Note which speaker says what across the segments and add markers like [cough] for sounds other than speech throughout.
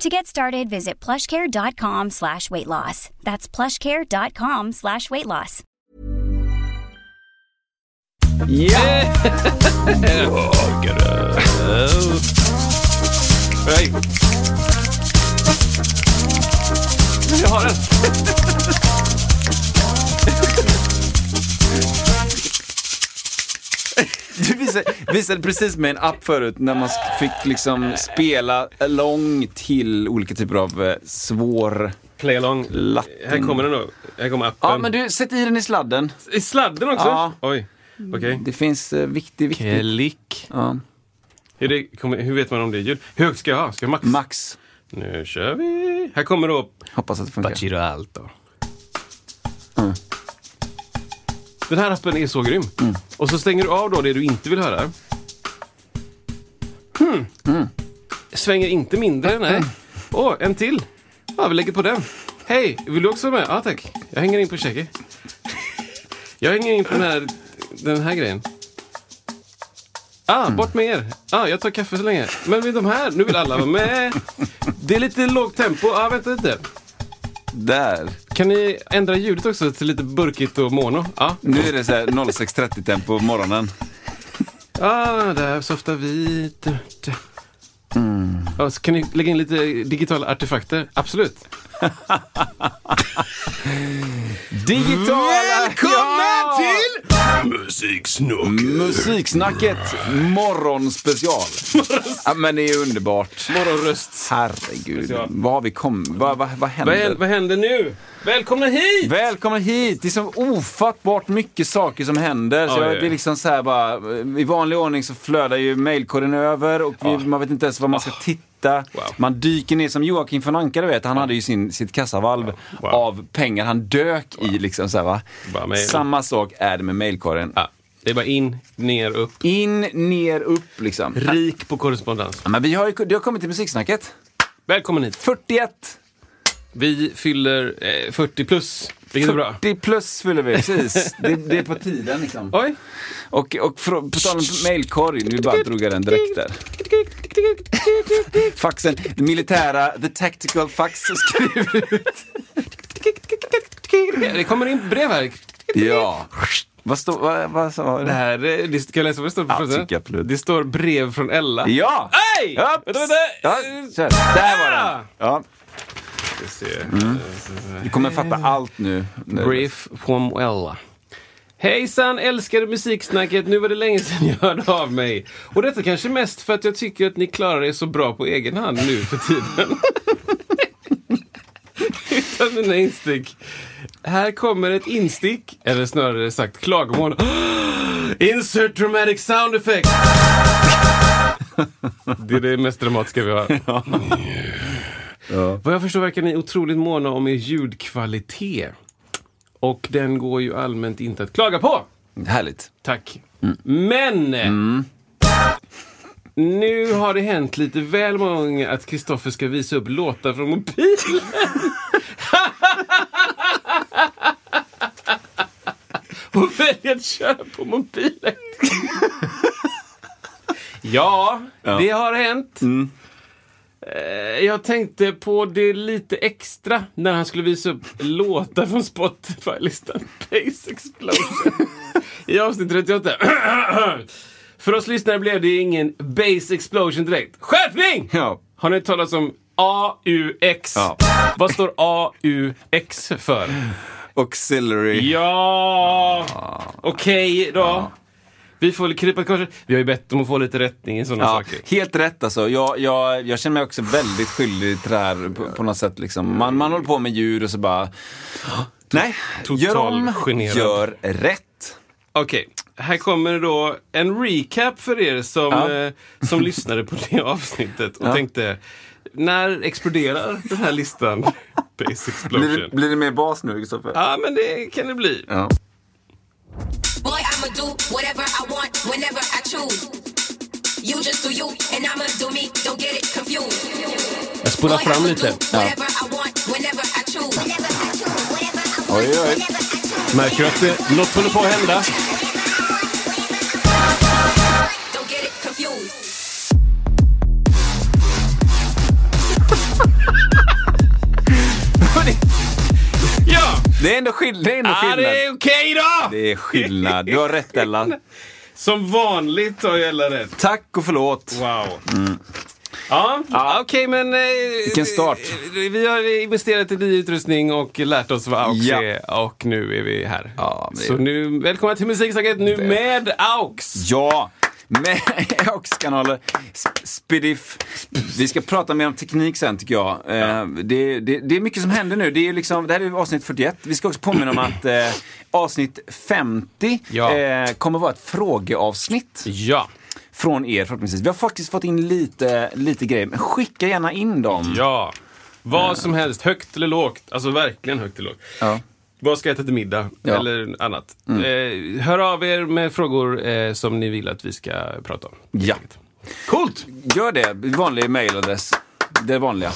Speaker 1: To get started, visit plushcare.com slash weight loss. That's plushcare.com slash weight loss.
Speaker 2: Ja!
Speaker 3: Nej. Jag har den.
Speaker 2: Du visade, visade precis med en app förut när man fick liksom spela along till olika typer av eh, svår...
Speaker 3: Play along.
Speaker 2: Latin.
Speaker 3: Här kommer den då. Här kommer appen.
Speaker 2: Ja, men du, sätt i den i sladden.
Speaker 3: I sladden också?
Speaker 2: Ja.
Speaker 3: Oj. Okej.
Speaker 2: Det finns eh, viktig, viktig...
Speaker 4: Klick.
Speaker 2: Ja.
Speaker 3: Är det- kommer- Hur vet man om det är ljud? Hur högt ska jag ha? Ska jag max?
Speaker 2: Max.
Speaker 3: nu kör vi. Här kommer då...
Speaker 2: Hoppas att det funkar. Mm.
Speaker 4: Baciro alto.
Speaker 3: Den här appen är så grym. Och så stänger du av då det du inte vill höra. Hmm. Svänger inte mindre, nej. Åh, en till. Ja, vi lägger på den. Hej, vill du också vara med? Ja, tack. Jag hänger in på käke. [laughs] Jag hänger in på den här, den här grejen. Ah, bort med er. Ah, jag tar kaffe så länge. Men vid de här, nu vill alla vara med. Det är lite lågt tempo. Ah, vänta lite.
Speaker 2: Där.
Speaker 3: Kan ni ändra ljudet också till lite burkigt och mono? Ah. Ja.
Speaker 2: Nu är det så här 06.30 tempo på morgonen.
Speaker 3: Ah, där softar vi. Du, du. Ja, så kan ni lägga in lite digitala artefakter? Absolut.
Speaker 2: Digital... Ja!
Speaker 3: till
Speaker 2: Mm, Musiksnacket morgonspecial.
Speaker 3: [laughs]
Speaker 2: ja, men det är ju underbart.
Speaker 3: Morgonröst.
Speaker 2: Herregud,
Speaker 3: Special.
Speaker 2: vad har vi kommit... Vad, vad, vad
Speaker 3: Vad,
Speaker 2: händer?
Speaker 3: hä- vad händer nu? Välkomna hit!
Speaker 2: Välkomna hit! Det är så ofattbart mycket saker som händer. Så
Speaker 3: Ja,
Speaker 2: jag,
Speaker 3: ja,
Speaker 2: det är
Speaker 3: ja.
Speaker 2: liksom så här bara, I vanlig ordning så flödar ju mailkorgen över och vi, man vet inte ens vad man
Speaker 3: Ah.
Speaker 2: ska titta. Man dyker ner som Joakim von Anka, du vet. Han hade ju sin, sitt kassavalv
Speaker 3: Wow.
Speaker 2: av pengar han dök i. Liksom, så här, va?
Speaker 3: Bara mail.
Speaker 2: Samma sak är det med mailkorgen.
Speaker 3: Ja, det är bara in, ner, upp.
Speaker 2: In, ner, upp liksom.
Speaker 3: Rik på korrespondens.
Speaker 2: Ja, Men vi har ju, det har kommit till musiksnacket.
Speaker 3: Välkommen hit.
Speaker 2: 41!
Speaker 3: Vi fyller eh, 40 plus, vilket är bra.
Speaker 2: 40 plus fyller vi. Precis. det, det är på tiden liksom.
Speaker 3: Oj!
Speaker 2: Och, och frå- på tal om mejlkorg, nu bara drog jag den direkt där. Faxen, det militära, the tactical fax skriver ut.
Speaker 3: Det kommer in brev här.
Speaker 2: Ja. Vad står, vad, vad sa
Speaker 3: Det
Speaker 2: det?
Speaker 3: här, eh, det, ska jag läsa vad det står på
Speaker 2: Ja,
Speaker 3: första?
Speaker 2: tycker jag absolut.
Speaker 3: Det står brev från Ella.
Speaker 2: Ja!
Speaker 3: Hej!
Speaker 2: Ups.
Speaker 3: Vänta, vänta!
Speaker 2: Ja, kör. Där var den! Ja,
Speaker 3: Ska se.
Speaker 2: Mm. du kommer fatta allt nu.
Speaker 3: Brief Pomuella. Hejsan älskade musiksnacket, nu var det länge sedan jag hörde av mig. Och detta kanske mest för att jag tycker att ni klarar er så bra på egen hand nu för tiden. [laughs] Utan mina instick. Här kommer ett instick, eller snarare sagt klagomål. [gasps] Insert dramatic sound effect! [laughs] Det är det mest dramatiska vi har. Vad jag förstår verkar ni otroligt måna om er ljudkvalitet. Och den går ju allmänt inte att klaga på.
Speaker 2: Härligt.
Speaker 3: Tack. Men! Nu har det hänt lite väl många gånger att Kristoffer ska visa upp låtar från mobilen. Och välja att köra på mobilen. ja, det har hänt.
Speaker 2: Mm.
Speaker 3: Eh, Jag tänkte på det lite extra när han skulle visa upp låtar från Spotify-listan Pace Explosion i avsnitt 38. [clears throat] För oss lyssnare blev det ingen Base Explosion direkt. Skärpning!
Speaker 2: Ja.
Speaker 3: Har ni hört talas om AUX?
Speaker 2: Ja.
Speaker 3: Vad står AUX för?
Speaker 2: Auxiliary.
Speaker 3: Ja! Okej då. Vi får väl krypa till korset. Vi har ju bett om att få lite rättning i sådana
Speaker 2: Ja,
Speaker 3: saker.
Speaker 2: helt rätt alltså. Jag, jag, jag känner mig också väldigt skyldig till det här på, på något sätt. Liksom. Man, man håller på med djur och så bara... Nej,
Speaker 3: total
Speaker 2: gör om,
Speaker 3: generad.
Speaker 2: gör rätt.
Speaker 3: Okej, här kommer då en recap för er som,
Speaker 2: Ja.
Speaker 3: eh, som lyssnade på det avsnittet och
Speaker 2: Ja.
Speaker 3: tänkte När exploderar den här [laughs] listan? Base
Speaker 2: Blir, det-
Speaker 3: explosion.
Speaker 2: blir det mer bas nu, Kristoffer?
Speaker 3: Ja, men det kan det bli.
Speaker 2: Ja.
Speaker 4: Boy, I'ma do whatever I want, whenever I choose. You just do you, and I'ma do me. Don't get it confused.
Speaker 3: Jag spolar
Speaker 4: Boy,
Speaker 3: fram
Speaker 4: I'ma
Speaker 3: lite.
Speaker 4: do whatever I want, whenever I choose.
Speaker 2: Oj, oj.
Speaker 3: Märker du att det, något håller på att hända?
Speaker 4: Don't get it confused.
Speaker 3: Ja!
Speaker 2: Det är ändå, skill- det är ändå
Speaker 3: Ah,
Speaker 2: skillnad.
Speaker 3: det är okej då!
Speaker 2: Det är skillnad. Du har rätt, Ella.
Speaker 3: Som vanligt har Ella rätt.
Speaker 2: Tack och förlåt.
Speaker 3: Wow. Ja, ja okej men... eh,
Speaker 2: Vilken start.
Speaker 3: Vi har investerat i ny utrustning och lärt oss vad AUX
Speaker 2: Ja.
Speaker 3: är och nu är vi här.
Speaker 2: Ja, men det-
Speaker 3: Så nu, välkomna till Musiksnacket, nu med AUX!
Speaker 2: Ja, med [laughs] AUX-kanaler. Sp- Spidiff. Vi ska prata mer om teknik sen tycker jag. Eh, Det, det, det är mycket som händer nu. Det, är ju liksom, det här är avsnitt 41. Vi ska också påminna om att eh, avsnitt 50
Speaker 3: Ja.
Speaker 2: eh, kommer vara ett frågeavsnitt
Speaker 3: Ja.
Speaker 2: från er förhoppningsvis. Vi har faktiskt fått in lite, lite grejer, men skicka gärna in dem.
Speaker 3: Ja. Vad som helst, högt eller lågt. Alltså verkligen högt eller lågt.
Speaker 2: Ja.
Speaker 3: Vad ska jag äta till middag?
Speaker 2: Ja. Mm.
Speaker 3: Eller annat. Eh, hör av er med frågor eh, som ni vill att vi ska prata om.
Speaker 2: Ja.
Speaker 3: Coolt!
Speaker 2: Gör det, vanlig mailadress. Det är vanliga.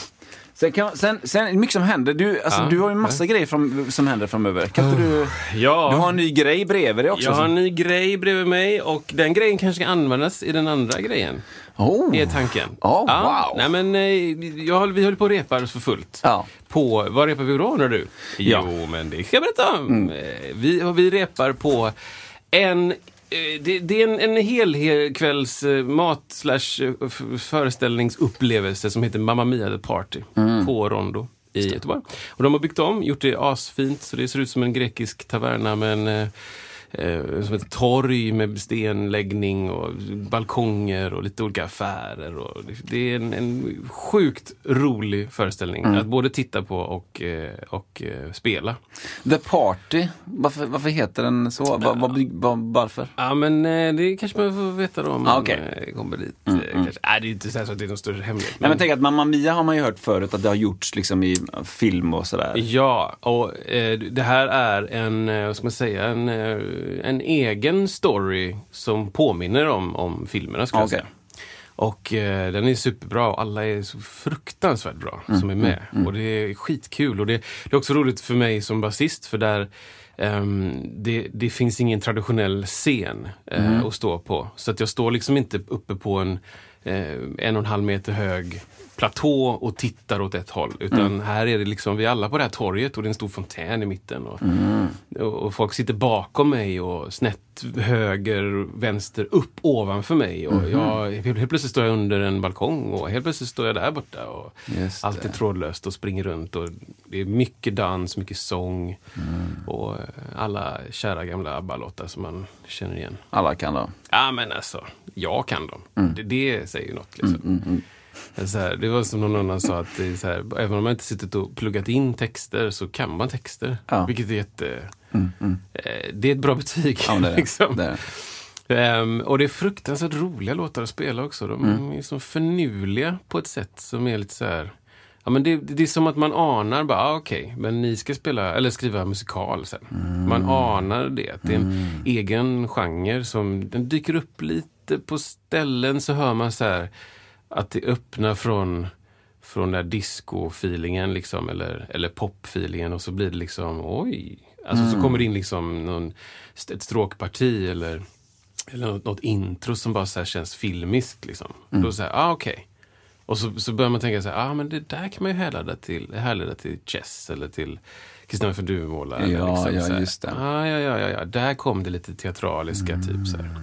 Speaker 2: Sen, kan, sen, sen mycket som händer. Du, alltså,
Speaker 3: Ja.
Speaker 2: du har ju massa grejer fram, som händer framöver. Kan inte du...
Speaker 3: Ja.
Speaker 2: Du har en ny grej bredvid dig också.
Speaker 3: Jag har en ny grej bredvid mig och den grejen kanske kan användas i den andra grejen.
Speaker 2: oh.
Speaker 3: Är tanken.
Speaker 2: Ja,
Speaker 3: Ja,
Speaker 2: wow.
Speaker 3: Nej, men, eh, jag, höll- vi höll på och repar för fullt.
Speaker 2: Ja.
Speaker 3: På, vad repar vi då undrar du?
Speaker 2: Ja. Mm.
Speaker 3: Jo, men det ska jag berätta om. Eh, Vi, och vi repar på en eh, det, det är en, en hel, hel kvälls eh, mat slash eh, f- föreställningsupplevelse som heter Mamma Mia The Party
Speaker 2: Mm.
Speaker 3: på Rondo i Göteborg. Och de har byggt om, gjort det asfint så det ser ut som en grekisk taverna men eh, eh, som ett torg med stenläggning och balkonger och lite olika affärer. Och det, det är en, en sjukt rolig föreställning
Speaker 2: Mm.
Speaker 3: att både titta på och, eh, och eh, spela.
Speaker 2: The Party, varför, varför heter den så? Va- va- va- varför?
Speaker 3: Ja, men eh, det kanske man får veta då om man
Speaker 2: okej. Mm,
Speaker 3: eh, kommer dit. eh, kanske. Nej, det är inte så här så att det är någon större hemlighet.
Speaker 2: Nej,
Speaker 3: men-
Speaker 2: men tänk att Mamma Mia har man ju hört förut att det har gjorts liksom i film och sådär.
Speaker 3: Ja, och eh, det här är en, eh, vad ska man säga, en, eh, en egen story som påminner om, om filmerna skulle jag
Speaker 2: Okej.
Speaker 3: säga. Och eh, den är superbra och alla är så fruktansvärt bra som är med. Och det är skitkul och det, det är också roligt för mig som basist för där ehm, det, det finns ingen traditionell scen eh, att stå på. Så att jag står liksom inte uppe på en eh, en och en halv meter hög platå och tittar åt ett håll. Utan här är det liksom, vi är alla på det här torget och det är en stor fontän i mitten. Och, och, och folk sitter bakom mig och snett höger, vänster, upp ovanför mig. Och jag, helt plötsligt står jag under en balkong och helt plötsligt står jag där borta. Och
Speaker 2: Just
Speaker 3: allt är trådlöst och springer runt. Och det är mycket dans, mycket sång. Och eh, alla kära gamla ABBA-låtar som man känner igen.
Speaker 2: Alla kan då.
Speaker 3: Ja men alltså, jag kan dem. Det, det säger ju något liksom. Så här, det var som någon annan sa, att det är så här, även om man inte suttit och pluggat in texter så kan man texter.
Speaker 2: Ja.
Speaker 3: Vilket är jätte... Eh, Det är ett bra betyg.
Speaker 2: Ja, men det är det.
Speaker 3: liksom.
Speaker 2: Det är det.
Speaker 3: Ehm, och det är fruktansvärt roliga låtar att spela också. De
Speaker 2: Mm.
Speaker 3: är så förnuliga på ett sätt som är lite så här... Ja, men det, det är som att man anar bara, ah, okej, men ni ska spela, eller skriva musikal sen.
Speaker 2: Mm.
Speaker 3: Man anar det, att det är en egen genre som den dyker upp lite på ställen så hör man så här att det öppnar från från den där disco-feelingen liksom, eller, eller pop-feelingen och så blir det liksom oj. Alltså
Speaker 2: Mm.
Speaker 3: så kommer det in liksom någon, st- ett stråkparti eller, eller något, något intro som bara så här känns filmiskt. Liksom.
Speaker 2: Mm.
Speaker 3: Då så här, ah okej. Och så, så börjar man tänka så här, ah men det där kan man ju härleda till, härleda till Chess eller till Kristina från Duvemåla. eller
Speaker 2: Ja, ja,
Speaker 3: så här,
Speaker 2: just det.
Speaker 3: Ah, ja, ja, ja, ja, där kom det lite teatraliska typ så här.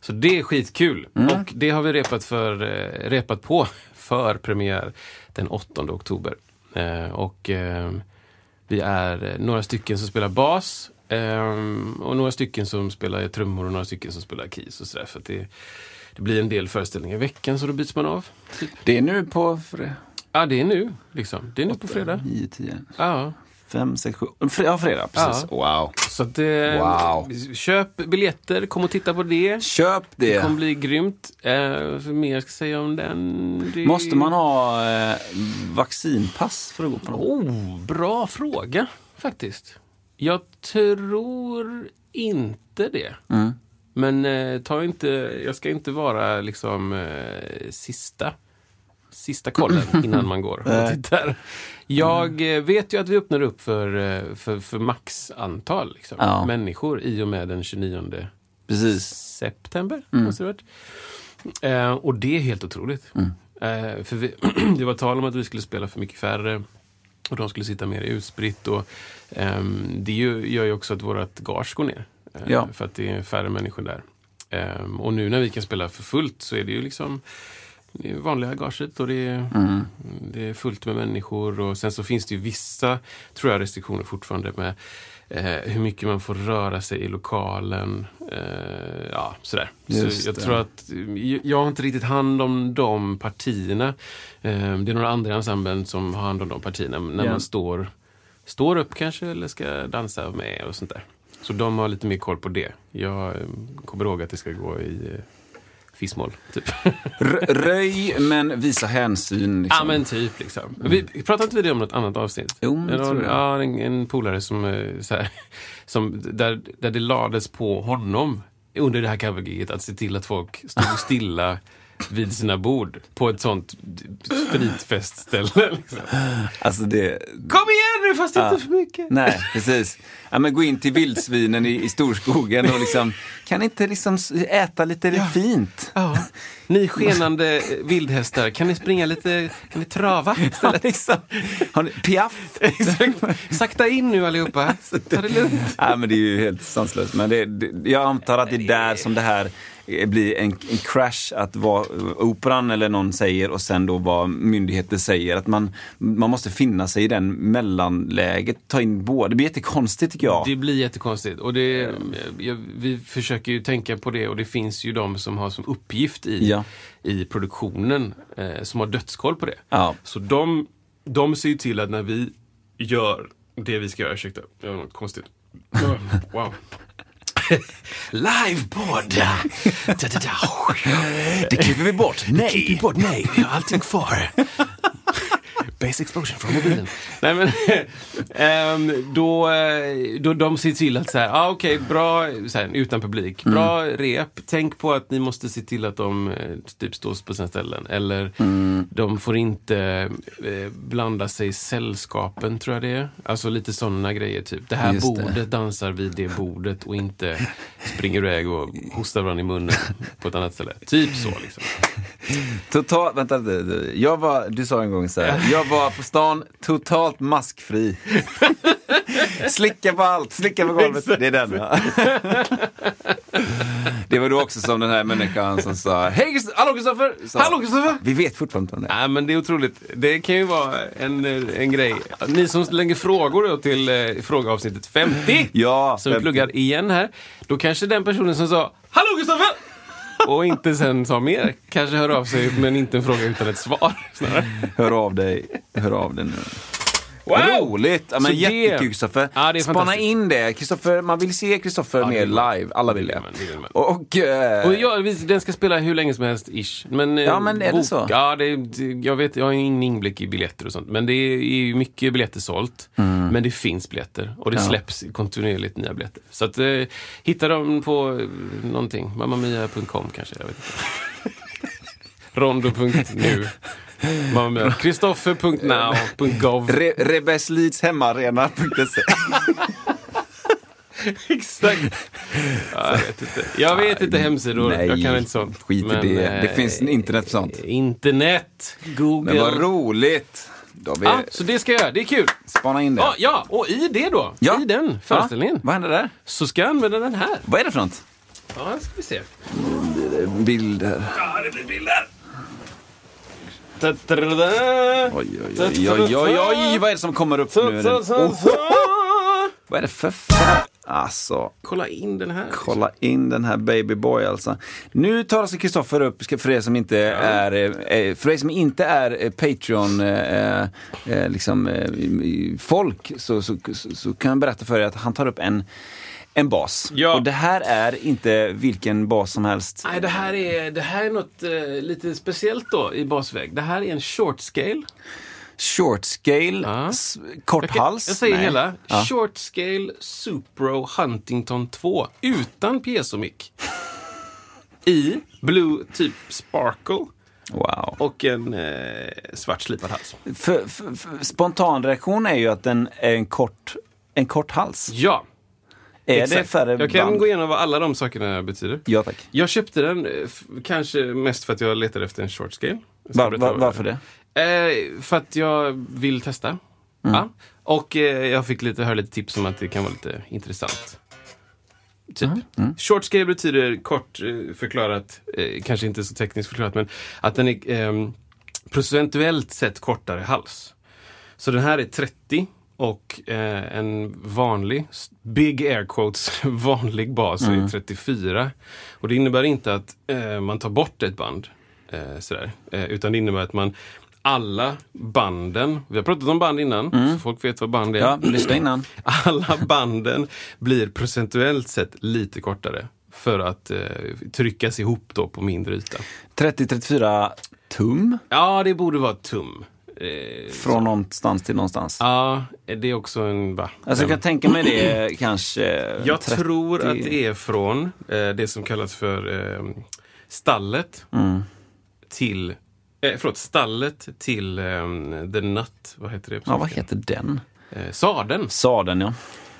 Speaker 3: Så det är skitkul. Och det har vi repat, för, eh, repat på [laughs] för premiär den 8 oktober. Eh, och eh, vi är eh, några stycken som spelar bas eh, och några stycken som spelar trummor och några stycken som spelar keys och sådär. För att det, det blir en del föreställningar i veckan så då byts man av. Typ.
Speaker 2: Det är nu på fre-
Speaker 3: Ja, det är nu liksom. Det är nu på fredag.
Speaker 2: 9, 10,
Speaker 3: Ja.
Speaker 2: 5, 6, 7. Fre- ja, fredag. Precis. Wow.
Speaker 3: Så att, eh,
Speaker 2: Wow.
Speaker 3: köp biljetter, kom och titta på det.
Speaker 2: Köp
Speaker 3: Det kommer
Speaker 2: det.
Speaker 3: bli grymt. Eh, vad mer ska jag säga om den? Det...
Speaker 2: Måste man ha eh, vaccinpass för att gå på något?
Speaker 3: Oh, bra fråga faktiskt. Jag tror inte det.
Speaker 2: Mm.
Speaker 3: Men eh, ta inte, jag ska inte vara liksom eh, sista
Speaker 2: [laughs]
Speaker 3: sista kollen innan man går och tittar. Jag eh, vet ju att vi öppnar upp för, eh, för, för maxantal liksom,
Speaker 2: Ja.
Speaker 3: människor i och med den 29
Speaker 2: Precis. Mm.
Speaker 3: september. Måste det ha varit. Eh, och det är helt otroligt.
Speaker 2: Mm.
Speaker 3: Eh, för vi, [clears throat] det var tal om att vi skulle spela för mycket färre och de skulle sitta mer utspritt. Och, ehm, det ju, gör ju också att vårt gage går ner. eh,
Speaker 2: Ja.
Speaker 3: För att det är färre människor där. Ehm, och nu när vi kan spela för fullt så är det ju liksom det är vanliga gaget och det är,
Speaker 2: Mm.
Speaker 3: det är fullt med människor. Och sen så finns det ju vissa, tror jag, restriktioner fortfarande med eh, hur mycket man får röra sig i lokalen. Eh, ja, sådär.
Speaker 2: Just
Speaker 3: Så jag
Speaker 2: det.
Speaker 3: tror att eh, jag har inte riktigt hand om de partierna. Eh, det är några andra i ensemblen som har hand om de partierna. När
Speaker 2: Ja.
Speaker 3: man står, står upp kanske eller ska dansa med och sånt där. Så de har lite mer koll på det. Jag eh, kommer ihåg att det ska gå i eh, fissmål, typ. [laughs]
Speaker 2: R- röj men visa hänsyn. Liksom.
Speaker 3: Ja men typ liksom. Vi, pratade inte vi det om något annat avsnitt?
Speaker 2: Jo, men
Speaker 3: det
Speaker 2: jag tror det.
Speaker 3: Ja, en, en polare som, eh, så här, [laughs] som där, där det lades på honom under det här covergiget att se till att folk stod
Speaker 2: [laughs]
Speaker 3: stilla vid sina bord på ett sånt d- spritfestställe. Liksom.
Speaker 2: Alltså det...
Speaker 3: Kom igen nu, fast inte för mycket.
Speaker 2: Nej, precis. Ja, men gå in till vildsvinen i, i storskogen och liksom, kan ni inte liksom s- äta lite fint?
Speaker 3: Ja. Ni skenande eh, vildhästar, kan ni springa lite, kan ni trava
Speaker 2: [laughs] Ja,
Speaker 3: istället?
Speaker 2: liksom.
Speaker 3: [laughs]
Speaker 2: Har ni, piaff!
Speaker 3: Sakta in
Speaker 2: [laughs]
Speaker 3: nu allihopa, ta det lugnt.
Speaker 2: Ja, men det är ju helt sanslöst. Men det, det, jag antar att det är där som det här eh, blir en, en crash, att vad eh, operan eller någon säger och sen då vad myndigheter säger. Att man, man måste finna sig i den mellanläget, ta in båda. Det blir jättekonstigt tycker jag.
Speaker 3: Det blir jättekonstigt. Och det,
Speaker 2: Eh.
Speaker 3: jag, vi försöker ju tänka på det och det finns ju de som har som uppgift i,
Speaker 2: Ja.
Speaker 3: i produktionen eh, som har dödskoll på det.
Speaker 2: Ja.
Speaker 3: Så de, de ser ju till att när vi gör det vi ska göra, ursäkta, jag var
Speaker 2: [laughs]
Speaker 3: något konstigt. Wow. [laughs] Livepodd! [laughs]
Speaker 2: Det klipper vi bort. Nej!
Speaker 3: bort, nej, vi har allting kvar. [laughs] Base explosion från mobilen. Nej men, [laughs] ehm, då, eh, då de ser till att så här, ah, okej, bra, så här, utan publik, bra rep. Tänk på att ni måste se till att de eh, typ står på sina ställen. Eller de får inte eh, blanda sig i sällskapen, tror jag det är. Alltså lite sådana grejer, typ. Det här
Speaker 2: Just det.
Speaker 3: bordet dansar vid det bordet och inte springer iväg och hostar varandra i munnen på ett annat ställe. Typ så liksom.
Speaker 2: Totalt, vänta lite. du. Jag var, du sa en gång så här, jag var på stan totalt
Speaker 3: [laughs]
Speaker 2: maskfri. slicka på allt, slicka på golvet. Det är den.
Speaker 3: [laughs]
Speaker 2: ja. det var då också som den här människan som sa, hej Krist- hallå Kristoffer! Sa,
Speaker 3: Hallå, Kristoffer!
Speaker 2: Vi vet fortfarande inte om det.
Speaker 3: Nej, men det är otroligt. Det kan ju vara en, eh, en grej. Ni som slänger frågor då till eh, frågeavsnittet 50,
Speaker 2: Ja,
Speaker 3: som vi
Speaker 2: 50.
Speaker 3: pluggar igen här, då kanske den personen som sa Hallå
Speaker 2: [laughs]
Speaker 3: Kristoffer! och inte sen sa mer, kanske hör av sig men inte en fråga utan ett svar. Snarare.
Speaker 2: Hör av dig, hör av dig nu. Roligt! Ja,
Speaker 3: Så
Speaker 2: men
Speaker 3: det-
Speaker 2: jättekul Kristoffer.
Speaker 3: Ja, det är
Speaker 2: Spana
Speaker 3: fantastiskt.
Speaker 2: in det. Kristoffer, man vill se Kristoffer
Speaker 3: det
Speaker 2: mer
Speaker 3: vill man.
Speaker 2: live. Alla vill
Speaker 3: Det
Speaker 2: det.
Speaker 3: vill man, det vill man.
Speaker 2: Och, eh,
Speaker 3: Och ja, visst, den ska spela hur länge som helst, ish. Men, eh,
Speaker 2: Ja, men är det så?
Speaker 3: Ja, det, det- jag, vet, jag har ingen inblick i biljetter och sånt. Men det är ju mycket biljetter sålt.
Speaker 2: Mm.
Speaker 3: Men det finns biljetter. Och det släpps kontinuerligt nya biljetter. Så att, eh, hitta dem på eh, någonting. Mammamia.com kanske, jag vet inte. [laughs] Rondo.nu. Mamma Mia. Kristoffer.now.gov.
Speaker 2: Re- Rebeslids hemmaarena.se
Speaker 3: Exakt. Ja, jag vet inte. Jag vet inte hemsidor.
Speaker 2: Nej,
Speaker 3: jag kan inte sånt.
Speaker 2: skit i det. Det
Speaker 3: eh,
Speaker 2: finns internet för sånt.
Speaker 3: Internet. Google.
Speaker 2: Men vad roligt! Då har vi
Speaker 3: Ja, så det ska jag göra. Det är kul.
Speaker 2: spana in det.
Speaker 3: Ja, ja, och i det då.
Speaker 2: Ja.
Speaker 3: I den föreställningen.
Speaker 2: Ja, Vad händer där?
Speaker 3: Så ska jag använda den här.
Speaker 2: Vad är det för något?
Speaker 3: Ja, här ska vi se.
Speaker 2: Bilder.
Speaker 3: Ja, det blir bilder. Ta-ta-da.
Speaker 2: Oj, oj, oj, oj, oj, oj, vad är det som kommer upp nu?
Speaker 3: Ta-ta-ta-ta.
Speaker 2: Vad är det för fan? Alltså,
Speaker 3: Kolla in den här.
Speaker 2: kolla in den här babyboy alltså. Nu tar alltså Kristoffer upp, ska- för er som inte är, eh, eh, för er som inte är eh, Patreon eh, eh, liksom, eh, i- i- folk så, så, så, så kan jag berätta för er att han tar upp en, en bas.
Speaker 3: Ja.
Speaker 2: Och det här är inte vilken bas som helst.
Speaker 3: Nej, det här är, det här är något eh, lite speciellt då i basväg. Det här är en short scale.
Speaker 2: Short scale,
Speaker 3: Ja.
Speaker 2: s- kort
Speaker 3: Jag, kan, jag
Speaker 2: hals.
Speaker 3: säger
Speaker 2: Nej.
Speaker 3: hela.
Speaker 2: Ja.
Speaker 3: Short scale Supro Huntington 2 utan piezomic. I blue typ sparkle
Speaker 2: Wow.
Speaker 3: och en eh, svart slipad hals.
Speaker 2: För, för, för, spontan reaktion är ju att den är en kort, en kort hals.
Speaker 3: Ja,
Speaker 2: Är det
Speaker 3: exakt.
Speaker 2: färre
Speaker 3: Jag kan
Speaker 2: band?
Speaker 3: gå igenom vad alla de sakerna betyder.
Speaker 2: Ja tack.
Speaker 3: Jag köpte den eh, f- kanske mest för att jag letade efter en short scale. Jag ska
Speaker 2: Va,
Speaker 3: berätta
Speaker 2: va,
Speaker 3: vad-
Speaker 2: varför det? Mm.
Speaker 3: Eh, för att jag vill testa. Ja. Och eh, jag fick lite, höra lite tips om att det kan vara lite intressant. Typ.
Speaker 2: Mm.
Speaker 3: Short scale betyder kort eh, förklarat, eh, kanske inte så tekniskt förklarat, men att den är ehm, procentuellt sett kortare hals. Så den här är 30 och eh, en vanlig, s- big air quotes, [laughs] vanlig bas
Speaker 2: Mm.
Speaker 3: är 34. Och det innebär inte att eh, man tar bort ett band, eh, sådär, eh, utan det innebär att man alla banden, vi har pratat om band innan, så folk vet vad band är.
Speaker 2: Mm. Ja, lyssna innan.
Speaker 3: Alla banden blir procentuellt sett lite kortare för att eh, tryckas ihop då på mindre yta.
Speaker 2: 30-34 tum
Speaker 3: Ja, det borde vara tum. Eh,
Speaker 2: från någonstans till någonstans.
Speaker 3: ja, det är också en... Va?
Speaker 2: Alltså jag
Speaker 3: Nej,
Speaker 2: kan tänka mig det kanske...
Speaker 3: Jag tror att det är från eh, det som kallas för eh, stallet till... Eh, förlåt, stallet till eh, the nut. Vad heter det? på
Speaker 2: Ja, vad
Speaker 3: svenska?
Speaker 2: heter den?
Speaker 3: Eh, sadeln.
Speaker 2: Sadeln ja.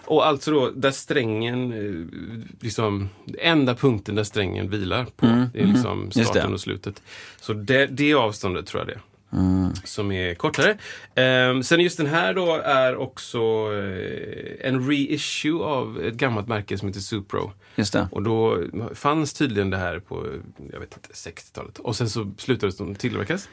Speaker 3: Och alltså då där strängen, eh, liksom enda punkten där strängen vilar på. Det är liksom
Speaker 2: Mm, Just
Speaker 3: starten
Speaker 2: det.
Speaker 3: och slutet. Så det, det avståndet tror jag det är.
Speaker 2: Mm.
Speaker 3: Som är kortare. Ehm, sen just den här då är också eh, en reissue av ett gammalt märke som heter Supro.
Speaker 2: Just det.
Speaker 3: Och då fanns tydligen det här på, jag vet inte, 60-talet. Och sen så slutade de tillverkas.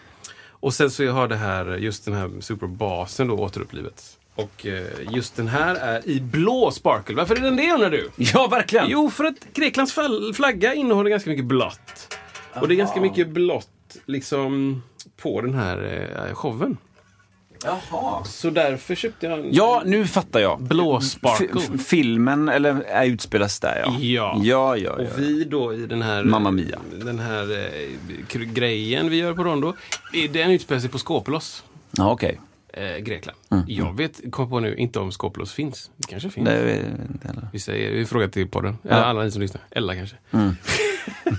Speaker 3: Och sen så har det här, just den här superbasen då återupplivats. Och eh, just den här är i blå sparkle. Varför är den det undrar du?
Speaker 2: Ja, verkligen!
Speaker 3: Jo, för att Greklands fall- flagga innehåller ganska mycket blått. Och det är ganska mycket blått liksom på den här eh, showen.
Speaker 2: Jaha.
Speaker 3: Så därför köpte jag en
Speaker 2: Ja, nu fattar jag.
Speaker 3: blå
Speaker 2: F-
Speaker 3: sparkle.
Speaker 2: f- filmen eller, är utspelas där ja.
Speaker 3: Ja.
Speaker 2: Ja, ja, ja.
Speaker 3: Och vi då i den här,
Speaker 2: Mamma Mia.
Speaker 3: Den här eh, kr- grejen vi gör på Rondo, eh, den utspelar sig på Skopelos,
Speaker 2: ja okej.
Speaker 3: eh, Grekland.
Speaker 2: Mm.
Speaker 3: Jag vet, kom på nu, inte om Skopelos finns. Det kanske finns.
Speaker 2: Det är inte heller.
Speaker 3: Vi, säger, vi frågar till podden, eller alla ni som lyssnar. Ella kanske.
Speaker 2: Mm.
Speaker 3: [laughs]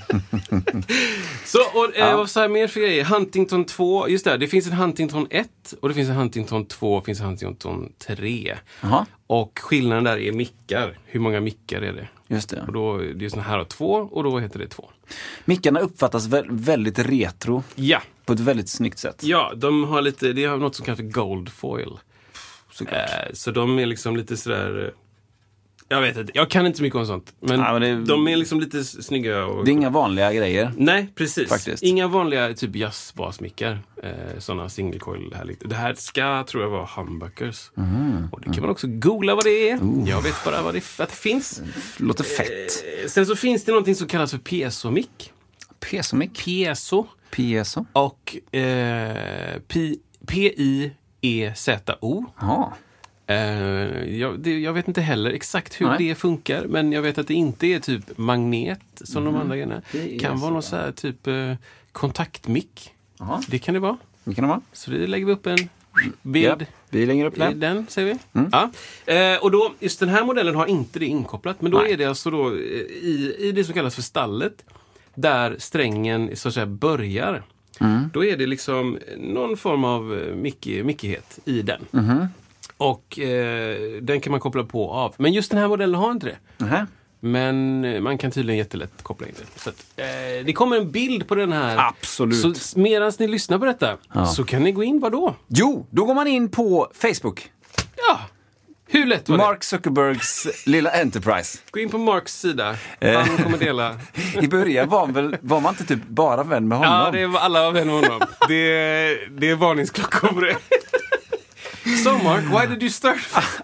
Speaker 3: så, och eh, vad sa jag mer för grejer? Huntington 2, just det, det finns en Huntington 1 och det finns en Huntington 2 och det finns en Huntington 3.
Speaker 2: Jaha,
Speaker 3: Och skillnaden där är mickar. Hur många mickar är det?
Speaker 2: just det.
Speaker 3: Och då, det är såna här har två och då heter det två.
Speaker 2: Mickarna uppfattas vä- väldigt retro
Speaker 3: Ja,
Speaker 2: på ett väldigt snyggt sätt.
Speaker 3: ja de har lite, det har något som kallas för gold foil.
Speaker 2: Såklart.
Speaker 3: Eh, så de är liksom lite sådär... eh, Jag vet inte, jag kan inte så mycket om sånt. Men,
Speaker 2: Ja, men det-
Speaker 3: de är liksom lite s- snygga och...
Speaker 2: Det är inga vanliga grejer.
Speaker 3: Nej, precis.
Speaker 2: Faktiskt.
Speaker 3: Inga vanliga typ jazzbasmickar. Eh, såna single coil här lite. Det här ska, tror jag, vara humbuckers.
Speaker 2: Mhm.
Speaker 3: Och det kan man också googla vad det är. Jag vet bara vad det, att det finns.
Speaker 2: Låter fett.
Speaker 3: Eh, sen så finns det någonting som kallas för piezo-mick.
Speaker 2: Pesomic.
Speaker 3: Piezo.
Speaker 2: Pieso.
Speaker 3: Och eh, P- P-I-E-Z-O.
Speaker 2: Jaha.
Speaker 3: Eh, jag, det, jag vet inte heller exakt hur
Speaker 2: Nej.
Speaker 3: det funkar, men jag vet att det inte är typ magnet som
Speaker 2: Mhm.
Speaker 3: de andra grejerna.
Speaker 2: Det är
Speaker 3: kan vara
Speaker 2: så,
Speaker 3: någon så här typ eh, kontaktmick.
Speaker 2: Jaha.
Speaker 3: Det kan det vara.
Speaker 2: Det kan det vara.
Speaker 3: Så det lägger vi upp en
Speaker 2: Ja,
Speaker 3: bild
Speaker 2: vi lägger upp
Speaker 3: i
Speaker 2: den.
Speaker 3: den, säger vi.
Speaker 2: Mm.
Speaker 3: Ja. Eh, och då, just den här modellen har inte det inkopplat, men då
Speaker 2: Nej.
Speaker 3: är det alltså då eh, i, i det som kallas för stallet, där strängen så att säga börjar.
Speaker 2: Mm.
Speaker 3: Då är det liksom någon form av eh, mickig- mickighet i den.
Speaker 2: Mm-hmm.
Speaker 3: Och eh, den kan man koppla på och av. Men just den här modellen har inte det.
Speaker 2: Nähä.
Speaker 3: Men eh, man kan tydligen jättelätt koppla in det. Så att, eh, det kommer en bild på den här.
Speaker 2: Absolut.
Speaker 3: Så s- medans ni lyssnar på detta så kan ni gå in, vadå?
Speaker 2: Jo, då går man in på Facebook.
Speaker 3: Ja! Hur lätt var det?
Speaker 2: Mark Zuckerbergs lilla Enterprise.
Speaker 3: Gå in på Marks sida.
Speaker 2: Eh.
Speaker 3: Han
Speaker 2: [laughs]
Speaker 3: kommer dela.
Speaker 2: I början var, han väl, var man inte typ bara vän med honom? [laughs]
Speaker 3: Ja, det är alla vänner med honom. Det, det är varningsklockor på det. So Mark, why did you
Speaker 2: Ah,
Speaker 3: start?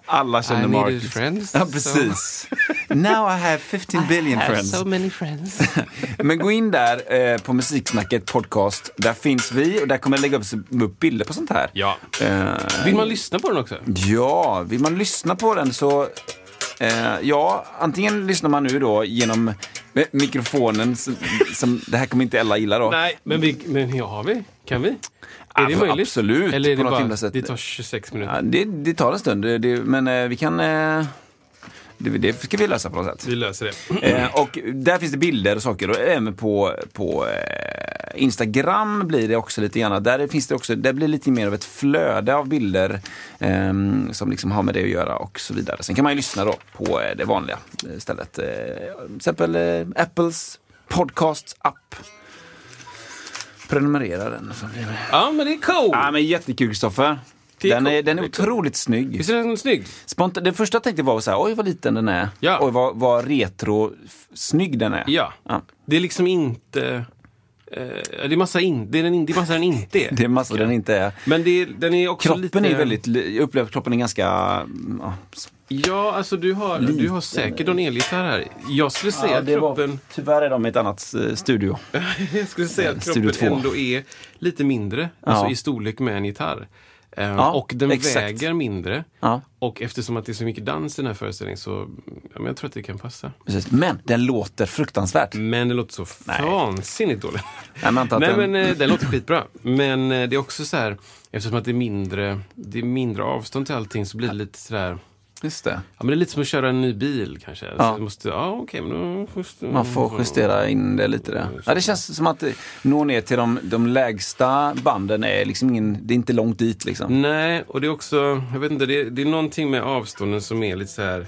Speaker 2: Alla
Speaker 3: I
Speaker 2: känner
Speaker 3: needed
Speaker 2: Marcus.
Speaker 3: friends,
Speaker 2: Ja,
Speaker 3: so-
Speaker 2: precis. Now I have 15 billion friends.
Speaker 3: many friends.
Speaker 2: Men gå in där eh, på Musiksnacket podcast. Där finns vi och där kommer jag lägga upp, upp bilder på sånt här.
Speaker 3: Ja.
Speaker 2: Eh,
Speaker 3: [laughs] Vill man lyssna på den också?
Speaker 2: Ja, vill man lyssna på den så... Eh, ja, antingen lyssnar man nu då genom eh, mikrofonen som, som det här kommer inte Ella gilla då.
Speaker 3: Nej, men, vi, men ja, har vi? Kan vi? Är det
Speaker 2: Ab-
Speaker 3: möjligt?
Speaker 2: absolut,
Speaker 3: Eller är
Speaker 2: på
Speaker 3: det
Speaker 2: något himla
Speaker 3: bara,
Speaker 2: sätt. Ah,
Speaker 3: det tar 26 minuter?
Speaker 2: Ja, det, det tar en stund, det, det, men eh, vi kan... Eh, det, det ska vi lösa på något sätt.
Speaker 3: Vi löser det. [clears throat]
Speaker 2: Eh, och där finns det bilder och saker. Och även på, på eh, Instagram blir det också lite grann. Där, finns det också, där blir det lite mer av ett flöde av bilder eh, som liksom har med det att göra och så vidare. Sen kan man ju lyssna då på eh, det vanliga eh, stället. Eh, till exempel eh, Apples podcast-app. Prenumerera den.
Speaker 3: Ja, men det är cool.
Speaker 2: Ja, Ah, men jättekul Kristoffer.
Speaker 3: Det är
Speaker 2: Den är,
Speaker 3: coolt,
Speaker 2: den är
Speaker 3: det är coolt.
Speaker 2: otroligt snygg.
Speaker 3: Visst är den snygg?
Speaker 2: Spontan, det första jag tänkte var så här, oj vad liten den är.
Speaker 3: Ja.
Speaker 2: Oj vad, vad retro-snygg den är.
Speaker 3: Ja.
Speaker 2: Ah.
Speaker 3: Det är liksom inte... Eh, det, är massa in, det, är den, in- det är massa den inte
Speaker 2: [laughs]
Speaker 3: är.
Speaker 2: Det är massor den inte är.
Speaker 3: Men det är, den är också
Speaker 2: Kroppen
Speaker 3: lite...
Speaker 2: är väldigt, li- jag upplever att kroppen är ganska, mm, ja, s-
Speaker 3: Ja, alltså du har, du har säkert någon elgitarr här. Jag skulle säga
Speaker 2: ja,
Speaker 3: att
Speaker 2: det
Speaker 3: kroppen... [laughs]
Speaker 2: var, tyvärr är de i ett annat eh, studio.
Speaker 3: Jag skulle säga att
Speaker 2: Studio
Speaker 3: kroppen
Speaker 2: två.
Speaker 3: ändå är lite mindre, alltså i storlek med en gitarr. Eh, och den
Speaker 2: exakt.
Speaker 3: väger mindre.
Speaker 2: Ja.
Speaker 3: Och eftersom att det är så mycket dans i den här föreställningen så ja, men jag tror att det kan passa.
Speaker 2: Precis. Men den låter fruktansvärt.
Speaker 3: Men det låter så vansinnigt dåligt.
Speaker 2: Nej, men, antar att
Speaker 3: Nej
Speaker 2: den,
Speaker 3: men eh, den låter skitbra. Men eh, det är också så här, eftersom att det är mindre, det är mindre avstånd till allting så blir det lite sådär
Speaker 2: just det.
Speaker 3: Ja, men det är lite som att köra en ny bil kanske. Så du måste, ja, okej, men då just,
Speaker 2: Man får
Speaker 3: Mm.
Speaker 2: justera in det lite där. Ja, det känns som att eh, nå ner till de, de lägsta banden är liksom ingen, det är inte långt dit liksom.
Speaker 3: Nej, och det är också, jag vet inte, det är, det är någonting med avstånden som är lite så här...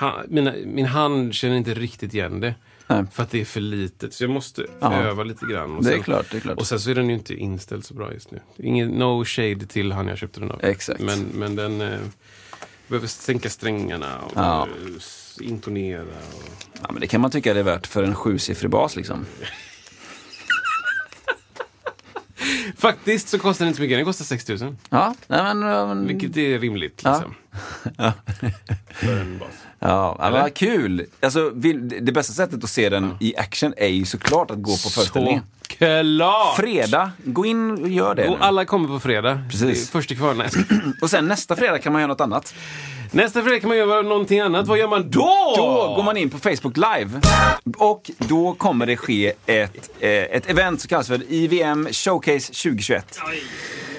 Speaker 3: Ha, mina, min hand känner inte riktigt igen det.
Speaker 2: Nej.
Speaker 3: För att det är för litet, så jag måste
Speaker 2: Ja.
Speaker 3: öva lite grann. Och
Speaker 2: Det är
Speaker 3: sen-
Speaker 2: klart, det är klart.
Speaker 3: Och sen så är den ju inte inställd så bra just nu. Ingen, no shade till han jag köpte den av.
Speaker 2: Exakt.
Speaker 3: Men, men den eh, behöver sänka strängarna och
Speaker 2: Ja.
Speaker 3: eh, s- intonera. Och...
Speaker 2: Ja, men det kan man tycka det är värt för en sjusiffrig bas liksom.
Speaker 3: Faktiskt så kostar den inte så mycket, den kostar 6 000.
Speaker 2: Ja, nej, men, ja, men,
Speaker 3: Vilket är rimligt
Speaker 2: Ja.
Speaker 3: liksom. För en bas.
Speaker 2: Ja, ja, men vad kul! Alltså, vill, det bästa sättet att se den i action är ju såklart att gå på föreställningen.
Speaker 3: Såklart!
Speaker 2: Fredag, gå in och gör det. nu.
Speaker 3: Och alla kommer på fredag.
Speaker 2: Precis.
Speaker 3: Det är Först i kvar. Nej.
Speaker 2: och sen nästa fredag kan man göra något annat.
Speaker 3: [clears throat] Nästa fredag kan man göra någonting annat. Vad gör man då?
Speaker 2: Då går man in på Facebook Live och då kommer det ske ett, eh, ett event som kallas för IVM Showcase 2021.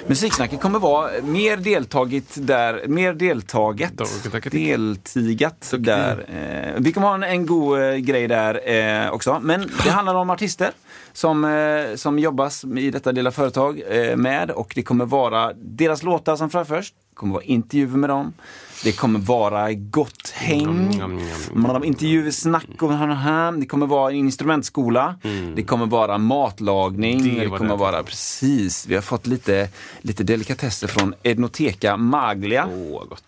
Speaker 2: Musiksnacket kommer vara mer deltagit där, mer deltaget,
Speaker 3: Tack, tack, tack.
Speaker 2: deltigat där. Eh, vi kommer ha en, en god eh, grej där eh, också. Men det handlar om artister som, eh, som jobbas i detta lilla företag eh, med och det kommer vara deras låtar som framförs. Det kommer vara intervjuer med dem. Det kommer vara gott häng.
Speaker 3: Mm, mm, mm.
Speaker 2: Man har intervjuer, snack och här. Det kommer vara en instrumentskola. Det kommer vara matlagning.
Speaker 3: Mm. Det
Speaker 2: Det,
Speaker 3: var
Speaker 2: kommer
Speaker 3: det.
Speaker 2: vara, precis. Vi har fått lite, lite delikatesser från Ednoteka Maglia.
Speaker 3: Åh, gott.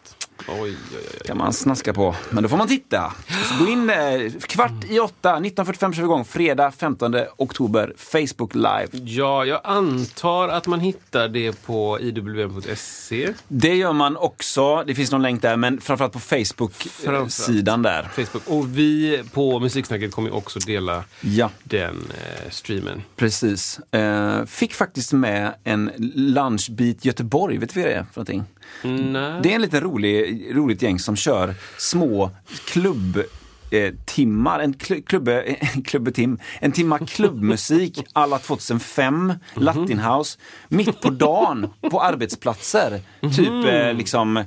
Speaker 3: Oj, oj, oj.
Speaker 2: kan man snaska på. Men då får man titta. Så gå in där, kvart i åtta, 19.45 kör vi igång. Fredag 15 oktober, Facebook live.
Speaker 3: Ja, jag antar att man hittar det på iwm.se.
Speaker 2: Det gör man också. Det finns någon länk där, men framförallt på
Speaker 3: Framförallt.
Speaker 2: Facebook-sidan där.
Speaker 3: Facebook. Och vi på Musiksnacket kommer ju också dela
Speaker 2: Ja.
Speaker 3: den eh, streamen.
Speaker 2: Precis. Eh, fick faktiskt med en lunchbeat Göteborg, vet du vad det är för någonting?
Speaker 3: Nej.
Speaker 2: Mm. Det är en liten rolig, roligt gäng som kör små klubb eh, timmar, en kl- klubbe, [laughs] en klubbetim, en timma klubbmusik [laughs] alla 2005, Latin House, mitt på dagen på arbetsplatser. Typ eh, liksom, eh,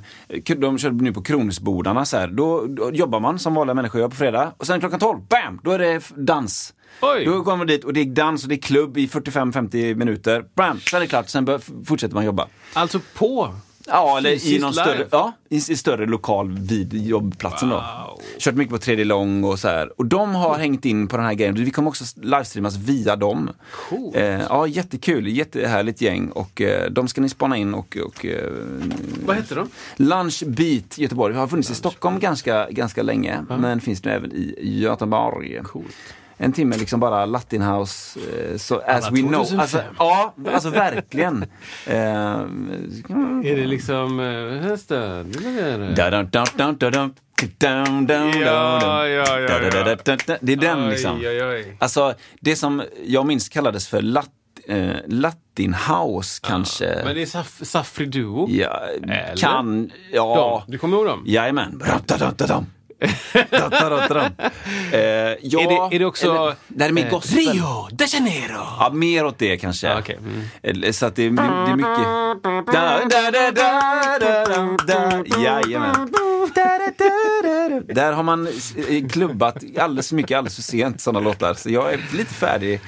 Speaker 2: de kör nu på Kronhusbodarna så här. Då, då jobbar man som vanliga människor gör på fredag och sen klockan 12, bam, då är det f- dans.
Speaker 3: Oj.
Speaker 2: Då går man dit och det är dans och det är klubb i 45-50 minuter. Bam, sen är det klart, sen bör, f- fortsätter man jobba.
Speaker 3: Alltså på.
Speaker 2: Ja, eller i
Speaker 3: Fysiskt
Speaker 2: någon
Speaker 3: live.
Speaker 2: större, ja, i, i större lokal vid jobbplatsen
Speaker 3: Wow.
Speaker 2: då. Kört mycket på 3D lång och så här. Och de har hängt in på den här grejen. Vi kommer också livestreamas via dem.
Speaker 3: Coolt.
Speaker 2: Eh, ja, jättekul. Jättehärligt gäng. Och eh, de ska ni spana in och, och eh,
Speaker 3: Vad heter de?
Speaker 2: Lunch Beat Göteborg har funnits i Stockholm ganska, ganska länge. Men finns nu även i Göteborg.
Speaker 3: Coolt.
Speaker 2: en timme liksom bara Latin House, eh, så as
Speaker 3: Alla
Speaker 2: we know.
Speaker 3: 2005.
Speaker 2: Alltså, ja, alltså
Speaker 3: [laughs]
Speaker 2: verkligen. Eh,
Speaker 3: Är det liksom... eh, hästar?
Speaker 2: Da-dum, dum, dum, dum, dum, dum, dum,
Speaker 3: Ja, ja, ja,
Speaker 2: dum, da, da, da,
Speaker 3: ja.
Speaker 2: da, da. Det är den
Speaker 3: Oj,
Speaker 2: liksom.
Speaker 3: oj, oj.
Speaker 2: Alltså, det som jag minns kallades för lat, eh, Latin House kanske.
Speaker 3: Men det är Saf- Safri Duo.
Speaker 2: Äh. Ja,
Speaker 3: Eller?
Speaker 2: kan, ja.
Speaker 3: Dem. Du kommer ihåg dem?
Speaker 2: Jajamän.
Speaker 3: [laughs]
Speaker 2: Rattatatatam. Rattatatatam. Eh, ja,
Speaker 3: Är det- är det också-
Speaker 2: eller- Det här är mer
Speaker 3: eh,
Speaker 2: gospel.
Speaker 3: de Janeiro!
Speaker 2: Ja, mer åt det kanske.
Speaker 3: Ah, okej. Mm.
Speaker 2: Eller- Så att det, är- det är mycket... Da, da, da, da, da, da, da. Jajamän. Da, da, da, da, da. Där har man eh, klubbat alldeles för mycket, alldeles för sent sådana låtar. Så jag är lite färdig,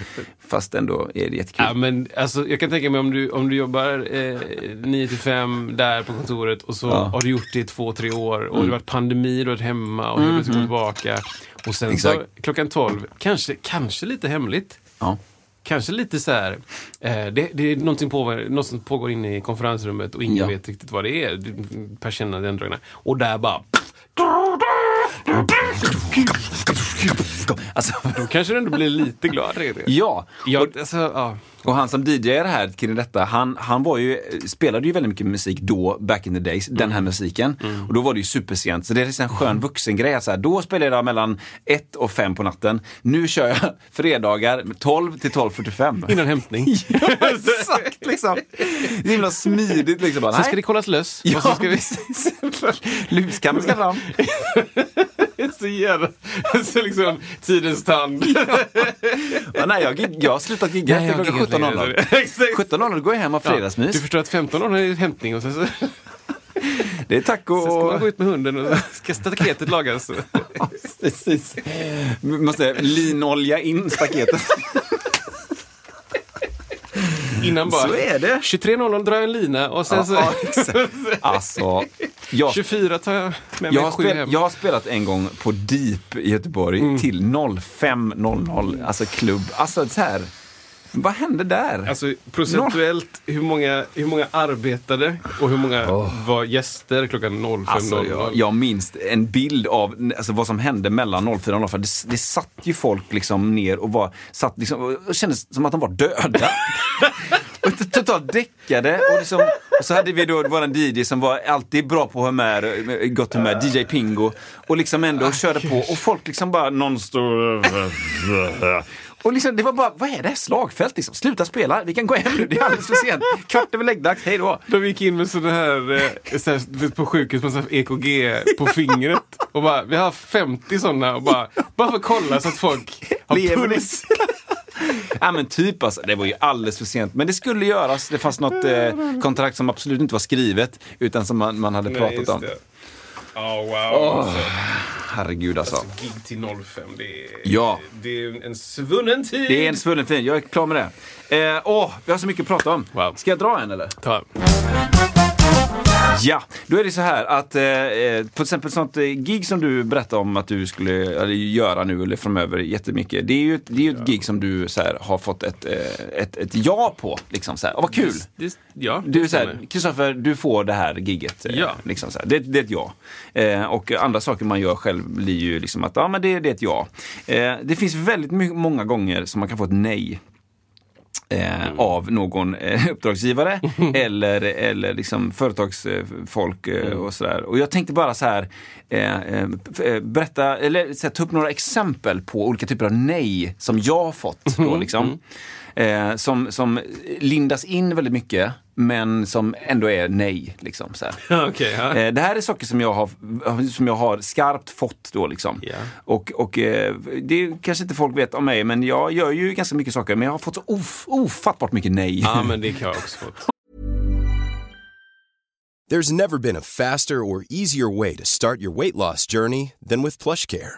Speaker 2: fast ändå är det jättekul.
Speaker 3: Ja, men, alltså, jag kan tänka mig om du, om du jobbar eh, 9 till 5 där på kontoret och så har du gjort det i två, tre år och det
Speaker 2: Mm.
Speaker 3: har varit pandemi, du har varit hemma och mm. plötsligt går tillbaka. Och sen så,
Speaker 2: Exakt.
Speaker 3: klockan 12, kanske, kanske lite hemligt.
Speaker 2: Ja.
Speaker 3: Kanske lite så här, eh, det, det är någonting pågår, något som pågår inne i konferensrummet och ingen
Speaker 2: Ja.
Speaker 3: vet riktigt vad det är. Persiennerna är indragna. Och där bara...
Speaker 2: Alltså,
Speaker 3: Då kanske du ändå blir lite glad. redan.
Speaker 2: ja.
Speaker 3: Jag, alltså, ja.
Speaker 2: Och han som DJade här kring detta, han, han var ju, spelade ju väldigt mycket musik då, back in the days, den här musiken.
Speaker 3: Mm.
Speaker 2: Och då var det ju supersent. Så det är liksom en skön vuxengrej. att Så här, då spelade jag mellan 1 och 5 på natten. Nu kör jag [laughs] fredagar 12 till 12.45.
Speaker 3: [laughs] Innan hämtning.
Speaker 2: [laughs] Exakt liksom. Det är himla smidigt liksom. Bara,
Speaker 3: Sen ska
Speaker 2: nej.
Speaker 3: det kollas löss.
Speaker 2: Ja,
Speaker 3: och så ska vi...
Speaker 2: precis. Luskammaren ska fram.
Speaker 3: Det är så jävla... Så liksom, tidens tand.
Speaker 2: Ja, nej, jag, gig- jag har slutat gigga
Speaker 3: Nej, jag
Speaker 2: efter klockan
Speaker 3: giggar inte längre.
Speaker 2: 17.00.
Speaker 3: [laughs] Exakt.
Speaker 2: 17.00 går jag hem och har
Speaker 3: Du
Speaker 2: fredagsmys.
Speaker 3: förstår att 15 år är hämtning och sen så sen
Speaker 2: Det är taco
Speaker 3: ska man
Speaker 2: och...
Speaker 3: gå ut med hunden och så ska staketet lagas.
Speaker 2: [laughs] Precis. Vi måste linolja in staketet.
Speaker 3: Innan bara...
Speaker 2: Så är det.
Speaker 3: 23.00 drar jag en lina och sen så...
Speaker 2: Ja, exakt. [laughs] alltså, jag,
Speaker 3: 24 tar jag
Speaker 2: jag,
Speaker 3: med mig
Speaker 2: har
Speaker 3: sju hem. Mm.
Speaker 2: spel, jag har spelat en gång på Deep i Göteborg till 05.00, alltså klubb. Alltså så här, vad hände där?
Speaker 3: Alltså procentuellt, hur många, hur många arbetade och hur många var gäster klockan 05.00?
Speaker 2: Alltså, jag, jag minns en bild av alltså, vad som hände mellan 04 och 05. Det, det satt ju folk liksom ner och var, satt liksom, och kändes som att de var döda. och t- totalt däckade. Och, liksom, och så hade vi då våran DJ som var alltid bra på humör, gott humör, DJ Pingo. Och liksom ändå körde på och folk liksom bara någon stod... Och liksom, det var bara, vad är det här slagfält liksom? Sluta spela, vi kan gå hem nu, det är alldeles för sent. Kvart över läggdags, hej då.
Speaker 3: De gick in med sådana här, eh, så här du vet, på sjukhus med sån här EKG på fingret. Och bara, vi har 50 sådana och bara, bara för att kolla så att folk har
Speaker 2: Lever
Speaker 3: puls.
Speaker 2: [laughs] Ja men typ alltså, det var ju alldeles för sent. Men det skulle göras. Det fanns något eh, kontrakt som absolut inte var skrivet utan som man, man hade pratat om.
Speaker 3: Ja, wow. Alltså,
Speaker 2: Herregud alltså.
Speaker 3: gig till 05, det är,
Speaker 2: Ja.
Speaker 3: det är en svunnen tid.
Speaker 2: Det är en svullen fin, jag är klar med det. Eh, Åh, vi har så mycket att prata om.
Speaker 3: Wow.
Speaker 2: Ska jag dra en eller?
Speaker 3: Ta.
Speaker 2: Ja, då är det så här att eh, eh, på till exempel ett sånt eh, gig som du berättade om att du skulle eller, göra nu eller framöver jättemycket. Det är ju, ett- det är ju ett gig som du så här, har fått ett, eh, ett, ett ja på. Liksom, så här. Och vad kul!
Speaker 3: Det, ja,
Speaker 2: Du
Speaker 3: det
Speaker 2: säger,
Speaker 3: stämmer.
Speaker 2: Kristoffer, du får det här gigget. eh,
Speaker 3: Ja.
Speaker 2: Liksom så här. Det, det är ett ja. Eh, och andra saker man gör själv blir ju liksom att, ja men det, det är ett ja. Eh, det finns väldigt my- många gånger som man kan få ett nej. Eh, Av någon eh, uppdragsgivare eller, eller liksom företagsfolk eh, och sådär. Och jag tänkte bara så här, eh, eh, f- eh, berätta, eller så här, ta upp några exempel på olika typer av nej som jag har fått. Då, liksom. eh, som, som lindas in väldigt mycket men som ändå är nej. Liksom, så här.
Speaker 3: Ja, Okej, ja.
Speaker 2: Eh, Det här är saker som jag har, som jag har skarpt fått då liksom.
Speaker 3: Ja.
Speaker 2: Och, och eh, det är- kanske inte folk vet om mig, men jag gör ju ganska mycket saker. Men jag har fått så of, ofattbart mycket nej.
Speaker 3: ja, men det kan jag också få.
Speaker 5: There's never been a faster or easier way to start your weight loss journey than with PlushCare.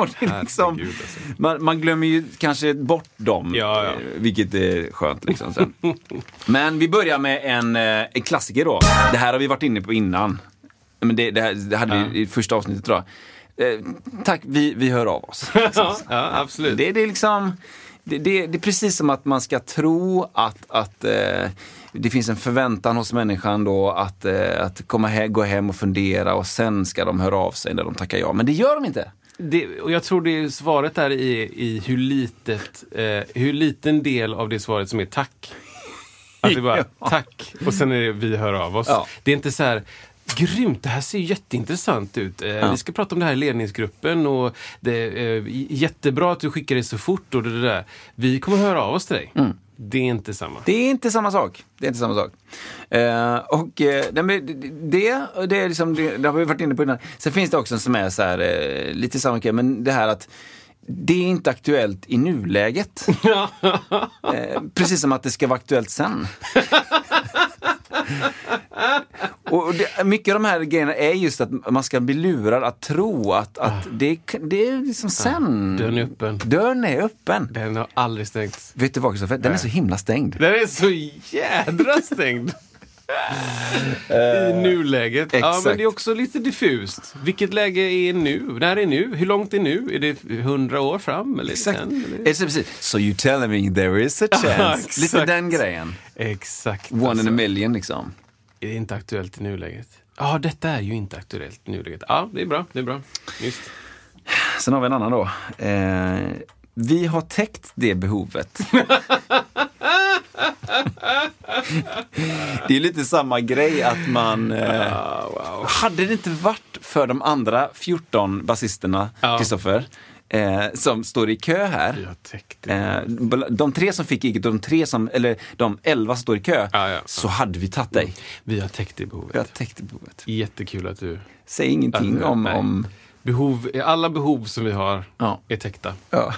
Speaker 2: [laughs] Och det är liksom,
Speaker 3: Herregud, alltså.
Speaker 2: man, man glömmer ju kanske bort dem,
Speaker 3: Ja, ja.
Speaker 2: eh, vilket är skönt. Liksom,
Speaker 3: [laughs]
Speaker 2: sen. Men vi börjar med en, eh, en klassiker då. Det här har vi varit inne på innan. Men det, det, här, det hade vi i första avsnittet tror jag. Eh, tack, vi, vi hör av
Speaker 3: [laughs]
Speaker 2: oss.
Speaker 3: Ja, ja, absolut.
Speaker 2: Det, det, är liksom, det, det, det är precis som att man ska tro att, att eh, det finns en förväntan hos människan då att, eh, att komma he- gå hem och fundera och sen ska de höra av sig när de tackar ja. Men det gör de inte.
Speaker 3: Det, och jag tror det är svaret där i, i hur, litet, eh, hur liten del av det svaret som är tack. Att det bara tack och sen är det vi hör av oss.
Speaker 2: Ja.
Speaker 3: Det är inte så här Grymt, det här ser jätteintressant ut. Eh, Vi ska prata om det här i ledningsgruppen och det är eh, j- jättebra att du skickar det så fort och det det där. Vi kommer höra av oss till dig. Det är inte samma.
Speaker 2: Det är inte samma sak. Det är inte samma sak. Eh, och eh, nej, men det, det, det, är liksom, det, det har vi varit inne på innan. Sen finns det också en som är så här, eh, lite samma grej, men det här att det är inte aktuellt i
Speaker 3: [laughs]
Speaker 2: nuläget. Eh, precis som att det ska vara aktuellt sen. [laughs] Och det, mycket av de här grejerna är just att man ska bli lurad att tro att, att det, det är liksom sen.
Speaker 3: Ah. Dörren är öppen.
Speaker 2: Dörren är öppen.
Speaker 3: Den har aldrig stängts.
Speaker 2: Vet du vad Kristoffer? Den är så himla stängd.
Speaker 3: Den är så jädra stängd. I nuläget. Ja, men
Speaker 2: Eh, exakt.
Speaker 3: det är också lite diffust. Vilket läge är nu? När är nu? Hur långt är nu? Är det hundra år fram? Eller
Speaker 2: Exakt.
Speaker 3: sen, eller?
Speaker 2: Exakt, Eh, precis. So you tell me there
Speaker 3: [laughs]
Speaker 2: is a
Speaker 3: exakt.
Speaker 2: chance. Lite den grejen.
Speaker 3: Exakt.
Speaker 2: One
Speaker 3: alltså.
Speaker 2: in a million liksom.
Speaker 3: Är det inte aktuellt i nuläget? Ja, detta är ju inte aktuellt i nuläget. Ja, det är bra. Det är bra. Just.
Speaker 2: Sen har vi en annan då. Eh, vi har täckt det behovet. [laughs] det är lite samma grej att man... Eh,
Speaker 3: Ah,
Speaker 2: Hade det inte varit för de andra 14 basisterna,
Speaker 3: Ja.
Speaker 2: Kristoffer, eh, som står i kö här.
Speaker 3: Jag täckte det.
Speaker 2: Eh, De tre som fick giget och de tre som, eller de elva som står i kö,
Speaker 3: Ja, ja, ja.
Speaker 2: så hade vi tagit dig.
Speaker 3: Vi har täckt det behovet.
Speaker 2: Jag täckte behovet.
Speaker 3: Jättekul att du...
Speaker 2: Säg ingenting
Speaker 3: att du-
Speaker 2: om...
Speaker 3: nej.
Speaker 2: om
Speaker 3: Behov, alla behov som vi har
Speaker 2: Ja.
Speaker 3: är täckta. [laughs]
Speaker 2: ja.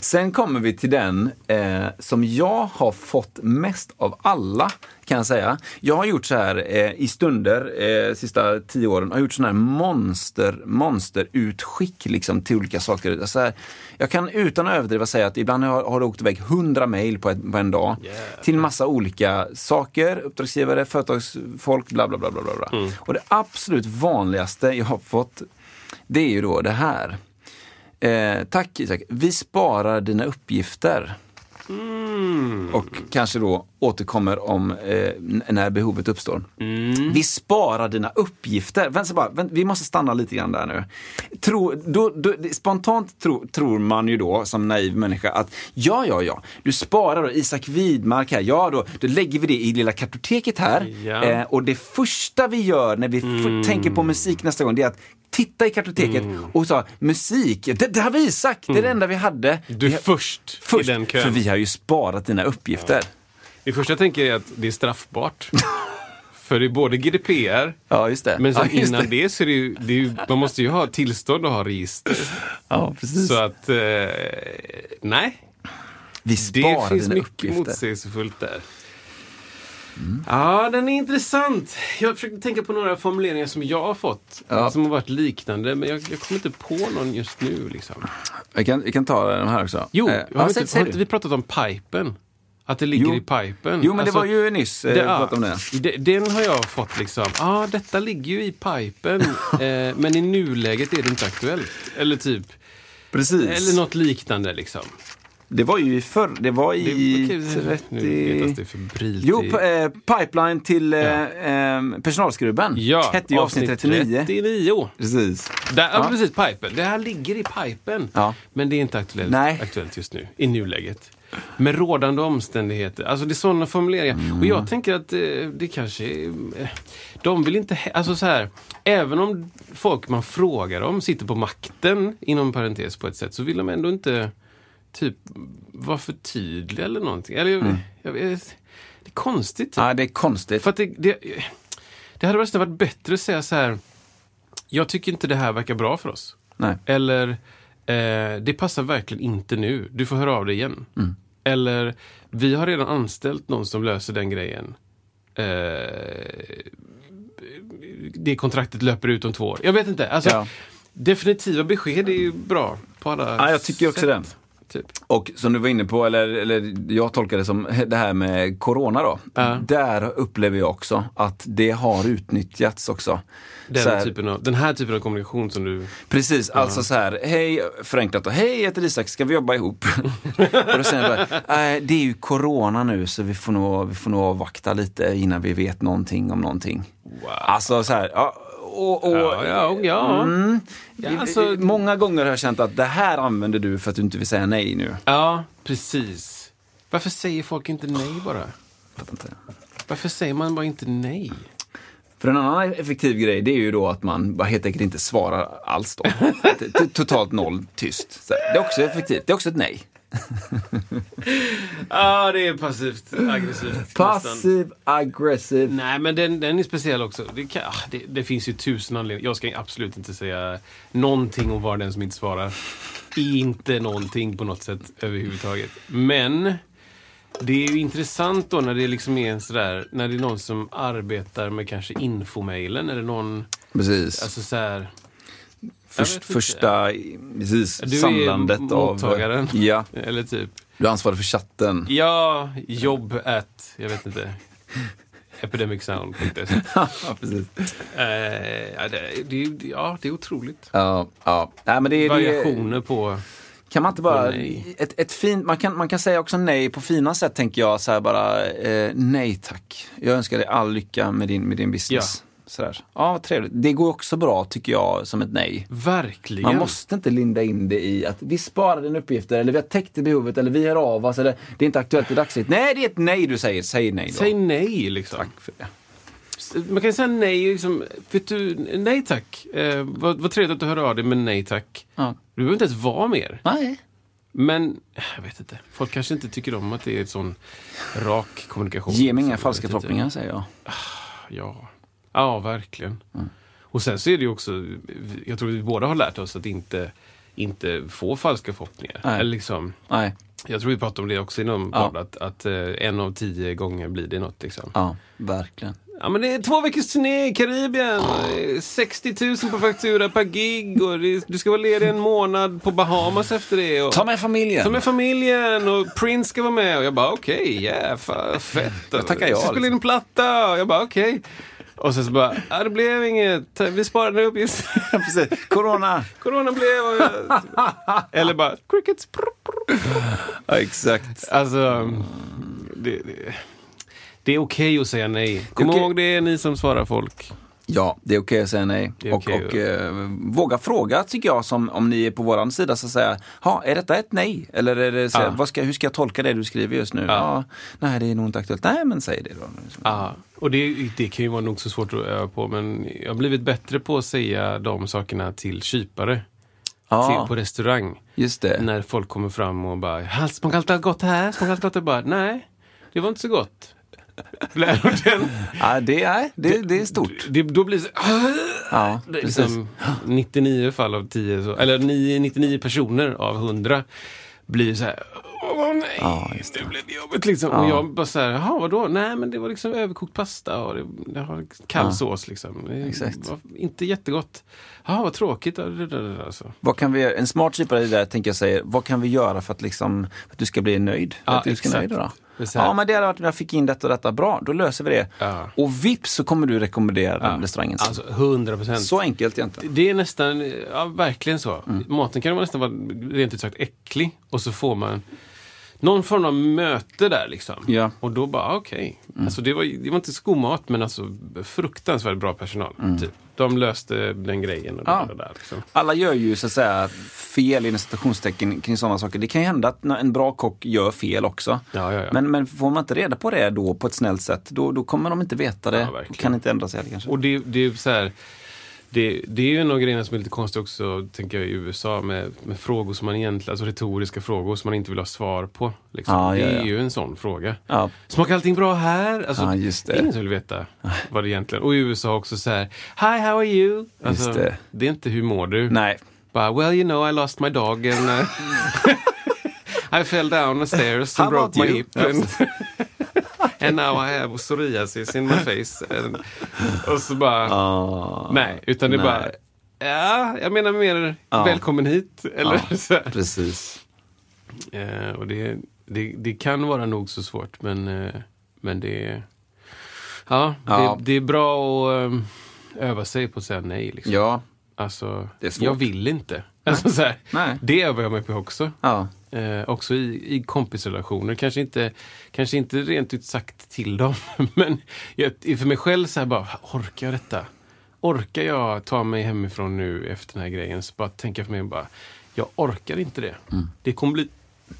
Speaker 2: Sen kommer vi till den eh, som jag har fått mest av alla, kan jag säga. Jag har gjort så här eh, i stunder, eh, sista tio åren, har gjort sådana här monster, monsterutskick liksom, till olika saker. Så här, jag kan utan att överdriva säga att ibland har, har det åkt iväg hundra mejl på, ett- på en dag till massa olika saker, uppdragsgivare, företagsfolk, bla bla bla. bla, bla. bla. Och det absolut vanligaste jag har fått, det är ju då det här. Eh, tack Isak. Vi sparar dina uppgifter. Och kanske då återkommer om eh, n- när behovet uppstår. Vi sparar dina uppgifter. Vänta, bara, vänt, vi måste stanna lite grann där nu. Tro, då, då, det- spontant tro, tror man ju då som naiv människa att ja, ja, ja, du sparar då Isak Widmark här. Ja, då, då lägger vi det i lilla kartoteket här.
Speaker 3: Ja.
Speaker 2: Eh, och det första vi gör när vi f- tänker på musik nästa gång det är att titta i kartoteket och sa musik, det, det har vi Isak, det är det enda vi hade.
Speaker 3: Du
Speaker 2: vi,
Speaker 3: är först,
Speaker 2: först,
Speaker 3: i den
Speaker 2: för
Speaker 3: kön.
Speaker 2: vi har ju sparat dina uppgifter.
Speaker 3: Det första jag tänker är att det är
Speaker 2: [laughs]
Speaker 3: straffbart. För det är både GDPR,
Speaker 2: Ja, just det.
Speaker 3: men sen
Speaker 2: ja, just
Speaker 3: innan det. så är det, ju, det är ju, man måste ju ha tillstånd att ha register.
Speaker 2: Ja, precis.
Speaker 3: Så att, eh, nej.
Speaker 2: vi
Speaker 3: Det
Speaker 2: sparar
Speaker 3: finns
Speaker 2: dina
Speaker 3: mycket
Speaker 2: uppgifter. Mm.
Speaker 3: motsägelsefullt där. Ja, den är intressant. Jag försökte tänka på några formuleringar som jag har fått,
Speaker 2: Ja.
Speaker 3: som har varit liknande, men jag, jag kommer inte på någon just nu. Liksom.
Speaker 2: Jag kan, jag kan ta den här också.
Speaker 3: Jo,
Speaker 2: Eh,
Speaker 3: har,
Speaker 2: ja,
Speaker 3: vi
Speaker 2: säg-
Speaker 3: inte,
Speaker 2: säg
Speaker 3: har
Speaker 2: du.
Speaker 3: inte vi pratat om pipen? Att det ligger
Speaker 2: Jo.
Speaker 3: i pipen.
Speaker 2: Jo, men
Speaker 3: Alltså,
Speaker 2: det var ju nyss eh, vi
Speaker 3: ja,
Speaker 2: pratade om det.
Speaker 3: de- Den har jag fått liksom. Ja, ah, detta ligger ju i pipen.
Speaker 2: [laughs]
Speaker 3: eh, men i nuläget är det inte aktuellt. Eller typ,
Speaker 2: Precis.
Speaker 3: eller något liknande liksom.
Speaker 2: Det var ju förr, det var
Speaker 3: Det
Speaker 2: i
Speaker 3: är,
Speaker 2: 30...
Speaker 3: Nu letas det febrilt
Speaker 2: Jo,
Speaker 3: i-
Speaker 2: p- eh, Pipeline till eh,
Speaker 3: Ja.
Speaker 2: ehm, Personalskrubben
Speaker 3: Ja,
Speaker 2: hette ju avsnitt 39.
Speaker 3: 39.
Speaker 2: Precis.
Speaker 3: Där, ja.
Speaker 2: Ja.
Speaker 3: precis, pipen. Det här ligger i pipen.
Speaker 2: Ja.
Speaker 3: Men det är inte aktuellt,
Speaker 2: Nej.
Speaker 3: aktuellt just nu, i nuläget. Med rådande omständigheter. Alltså det är sådana formuleringar.
Speaker 2: Mm.
Speaker 3: Och jag tänker att eh, det kanske... är- Eh, de vill inte... he- Alltså så här. Även om folk man frågar om sitter på makten, inom parentes på ett sätt, så vill de ändå inte typ vara för tydliga eller någonting. Eller, jag,
Speaker 2: Mm.
Speaker 3: jag, vet- det är konstigt. typ.
Speaker 2: Ja, det är konstigt.
Speaker 3: För att det, det, det hade nästan varit bättre att säga så här. Jag tycker inte det här verkar bra för oss.
Speaker 2: Nej.
Speaker 3: Eller eh, det passar verkligen inte nu. Du får höra av dig igen.
Speaker 2: Mm.
Speaker 3: Eller vi har redan anställt någon som löser den grejen. Eh, det kontraktet löper ut om två år. Jag vet inte. Alltså,
Speaker 2: Ja.
Speaker 3: Definitiva besked är ju bra på alla
Speaker 2: Ja, jag tycker också det.
Speaker 3: sätt, Typ.
Speaker 2: Och som du var inne på, eller, eller jag tolkar det som det här med corona då.
Speaker 3: Ja.
Speaker 2: Där upplever jag också att det har utnyttjats också. Så
Speaker 3: Den,
Speaker 2: här,
Speaker 3: typen av, den här typen av kommunikation som du...
Speaker 2: Precis, alltså så här, hej, förenklat då, hej jag heter Isak, ska vi jobba ihop? [laughs] och då säger jag bara, "Nej, det är ju corona nu så vi får, nog, vi får nog avvakta lite innan vi vet någonting om någonting. Alltså så här, ja, och, och,
Speaker 3: Ja, ja, ja.
Speaker 2: Mm,
Speaker 3: Ja, alltså-
Speaker 2: Många gånger har jag känt att det här använder du för att du inte vill säga nej nu.
Speaker 3: Ja, precis. Varför säger folk inte nej bara?
Speaker 2: Fattar inte.
Speaker 3: Varför säger man bara inte nej?
Speaker 2: För en annan effektiv grej det är ju då att man bara helt enkelt inte svarar alls då. T- t- Totalt noll, tyst. Så här, det är också effektivt, det är också ett nej.
Speaker 3: Ja, det är passivt aggressivt.
Speaker 2: Passiv aggressiv.
Speaker 3: Nej, men den, den är speciell också. Det, kan, ah, det, det finns ju tusen anledningar. Jag ska absolut inte säga någonting om var den som inte svarar. Inte någonting på något sätt överhuvudtaget. Men det är ju intressant då när det liksom är en sådär, när det är någon som arbetar med kanske infomailen eller någon,
Speaker 2: Precis.
Speaker 3: alltså såhär,
Speaker 2: Först,
Speaker 3: inte.
Speaker 2: första precis,
Speaker 3: Du är
Speaker 2: samlandet av... eh,
Speaker 3: mottagaren.
Speaker 2: Ja,
Speaker 3: [laughs] eller typ
Speaker 2: du är ansvarig för chatten.
Speaker 3: Ja, jobb at, jag vet inte. Epidemicsound.se. Eh,
Speaker 2: [laughs] Ja, precis.
Speaker 3: ja, det, det, är- ja, det är otroligt.
Speaker 2: Ja, ja. Nej, men det, är-
Speaker 3: Variationer på...
Speaker 2: Kan man inte bara...
Speaker 3: Och nej.
Speaker 2: Ett, ett fint, man, kan, man kan säga också nej på fina sätt, tänker jag. Så här bara, eh, nej tack. Jag önskar dig all lycka med din, med din business. Ja. Så där. ja, vad trevligt. Det går också bra, tycker jag, som ett nej.
Speaker 3: Verkligen.
Speaker 2: Man måste inte linda in det i att vi sparar dina uppgifter, eller vi har täckt det behovet, eller vi hör av oss, eller det är inte aktuellt i dagsläget. Nej, det är ett nej du säger. Säg nej då.
Speaker 3: Säg nej liksom. S- Man kan säga nej liksom. Vet du, nej tack. Eh, vad, vad trevligt att du hörde av dig, men nej tack.
Speaker 2: Ja.
Speaker 3: Du behöver inte ens vara mer.
Speaker 2: Nej.
Speaker 3: Men, jag vet inte. Folk kanske inte tycker om att det är en sån rak kommunikation.
Speaker 2: Ge mig inga
Speaker 3: Jag
Speaker 2: falska
Speaker 3: vet inte.
Speaker 2: förhoppningar, säger jag.
Speaker 3: Ja, ja verkligen.
Speaker 2: Mm.
Speaker 3: Och sen så är det ju också, jag tror vi båda har lärt oss att inte, inte få falska förhoppningar.
Speaker 2: Nej.
Speaker 3: Eller liksom,
Speaker 2: Nej.
Speaker 3: jag tror vi pratade om det också i någon
Speaker 2: Ja.
Speaker 3: podd, att, att eh, en av tio gånger blir det något. Liksom. Ja.
Speaker 2: Ja, verkligen.
Speaker 3: men det är två veckors turné i Karibien, eh, 60 000 på faktura per gig och det, du ska vara ledig en månad på Bahamas efter det. Och,
Speaker 2: Ta med familjen.
Speaker 3: Ta med familjen och Prince ska vara med. Och jag bara okej, yeah, fa- fett.
Speaker 2: Jag tackar ja, liksom.
Speaker 3: Så spelade in en platta och jag bara okej. Och sen så bara, ah, det blev inget. Vi
Speaker 2: [laughs]
Speaker 3: sparade uppgifter.
Speaker 2: Precis.
Speaker 3: [laughs]
Speaker 2: Corona.
Speaker 3: Corona blev och jag... Eller bara crickets. Prr, prr.
Speaker 2: ja, exakt.
Speaker 3: Alltså, det, det, det är okej att säga nej. Kom
Speaker 2: okej.
Speaker 3: ihåg det, ni som svarar folk.
Speaker 2: Ja, det är okej att säga nej.
Speaker 3: Det är
Speaker 2: och
Speaker 3: okej
Speaker 2: och eh, våga fråga tycker jag, som om ni är på våran sida, så säga, ha, är detta ett nej? Eller är det, så,
Speaker 3: Ja.
Speaker 2: vad ska, hur ska jag tolka det du skriver just nu? Ja. nej, det är nog inte aktuellt. Nej, men säg det då.
Speaker 3: Ja, och det, det kan ju vara nog så svårt att öva på, men jag har blivit bättre på att säga de sakerna till kypare. Till,
Speaker 2: Ja,
Speaker 3: på restaurang.
Speaker 2: just det.
Speaker 3: När folk kommer fram och bara "Hals- “Smakar allt gott här?” Smakar allt gott? Jag bara “Nej, det var inte så gott”. Blir- och den-
Speaker 2: [laughs] Ja, det, är, det, det är stort.
Speaker 3: det, då blir det så, Ah!
Speaker 2: Ja,
Speaker 3: det är
Speaker 2: precis.
Speaker 3: liksom 99 fall av 10, så, eller 9, 99 personer av 100 blir så här “Åh nej, det. blev jobbigt” liksom. Och jag bara så här “Jaha, vadå? Nej, men det var liksom överkokt pasta och det, det har kall sås liksom. Det
Speaker 2: Exakt.
Speaker 3: var inte jättegott. Jaha, vad tråkigt.” Alltså.
Speaker 2: Vad kan vi, en smart kypare i det där tänker jag säger, vad kan vi göra för att, liksom, för att du ska bli nöjd? För
Speaker 3: Ja,
Speaker 2: att du ska
Speaker 3: exakt.
Speaker 2: nöjd då?
Speaker 3: Det är så här-
Speaker 2: Ja, men det hade varit, jag fick in detta och detta, bra, då löser vi det.
Speaker 3: Ja.
Speaker 2: Och vips så kommer du rekommendera den restaurangen. sen.
Speaker 3: Alltså 100 procent.
Speaker 2: så enkelt egentligen.
Speaker 3: Det är
Speaker 2: Mm.
Speaker 3: nästan, ja verkligen så. Maten kan vara nästan vara rent ut sagt äcklig och så får man Någon form av möte där liksom.
Speaker 2: Ja. Mm.
Speaker 3: Och då bara, okej. Alltså, det, var, det var inte skomat, men alltså fruktansvärt bra personal. Typ. De löste den grejen och det
Speaker 2: Mm. Ja.
Speaker 3: där, och där liksom.
Speaker 2: Alla gör ju så att säga fel inom citationstecken kring sådana saker. Det kan ju hända att när en bra kock gör fel också.
Speaker 3: Ja, ja, ja.
Speaker 2: Men, men får man inte reda på det då på ett snällt sätt, då, då kommer de inte veta det.
Speaker 3: Ja,
Speaker 2: och
Speaker 3: verkligen.
Speaker 2: kan inte ändra sig heller kanske.
Speaker 3: Och det, det är ju så här, det, det är ju en av grejerna som är lite konstig också, tänker jag, i USA med, med frågor som man egentligen, alltså retoriska frågor som man inte vill ha svar på. Liksom.
Speaker 2: Ja,
Speaker 3: det
Speaker 2: ja,
Speaker 3: är
Speaker 2: ja.
Speaker 3: ju en sån fråga.
Speaker 2: Ja.
Speaker 3: Smakar allting bra här? Alltså,
Speaker 2: Ja, just det.
Speaker 3: är Ingen som vill veta vad det egentligen Och i USA också så här, Hi, how are you? Alltså,
Speaker 2: Just det.
Speaker 3: är inte hur mår du?
Speaker 2: Nej.
Speaker 3: Bara, well, you know, I lost my dog and uh, [laughs] I fell down the stairs and
Speaker 2: How
Speaker 3: broke my
Speaker 2: about you?
Speaker 3: hip. And, [laughs] and now I have psoriasis in my face. And, och så bara, nej, utan det är
Speaker 2: Ah, nej.
Speaker 3: bara, ja, jag menar mer välkommen hit. Eller [laughs] så här.
Speaker 2: Precis.
Speaker 3: Eh, och det, det, det kan vara nog så svårt, men, eh, men det, ja,
Speaker 2: Ja.
Speaker 3: Det, det är bra att um, öva sig på att säga nej. Liksom.
Speaker 2: Ja.
Speaker 3: Alltså,
Speaker 2: Det är svårt.
Speaker 3: jag vill inte. Alltså, så här,
Speaker 2: Nej.
Speaker 3: Det övar jag mig på också.
Speaker 2: Ja.
Speaker 3: Eh, också i, i kompisrelationer. Kanske inte, kanske inte rent ut sagt till dem, [laughs] men jag, för mig själv så här bara, orkar jag detta? Orkar jag ta mig hemifrån nu efter den här grejen? Så bara tänker jag för mig bara, jag orkar inte det.
Speaker 2: Mm.
Speaker 3: Det kommer bli...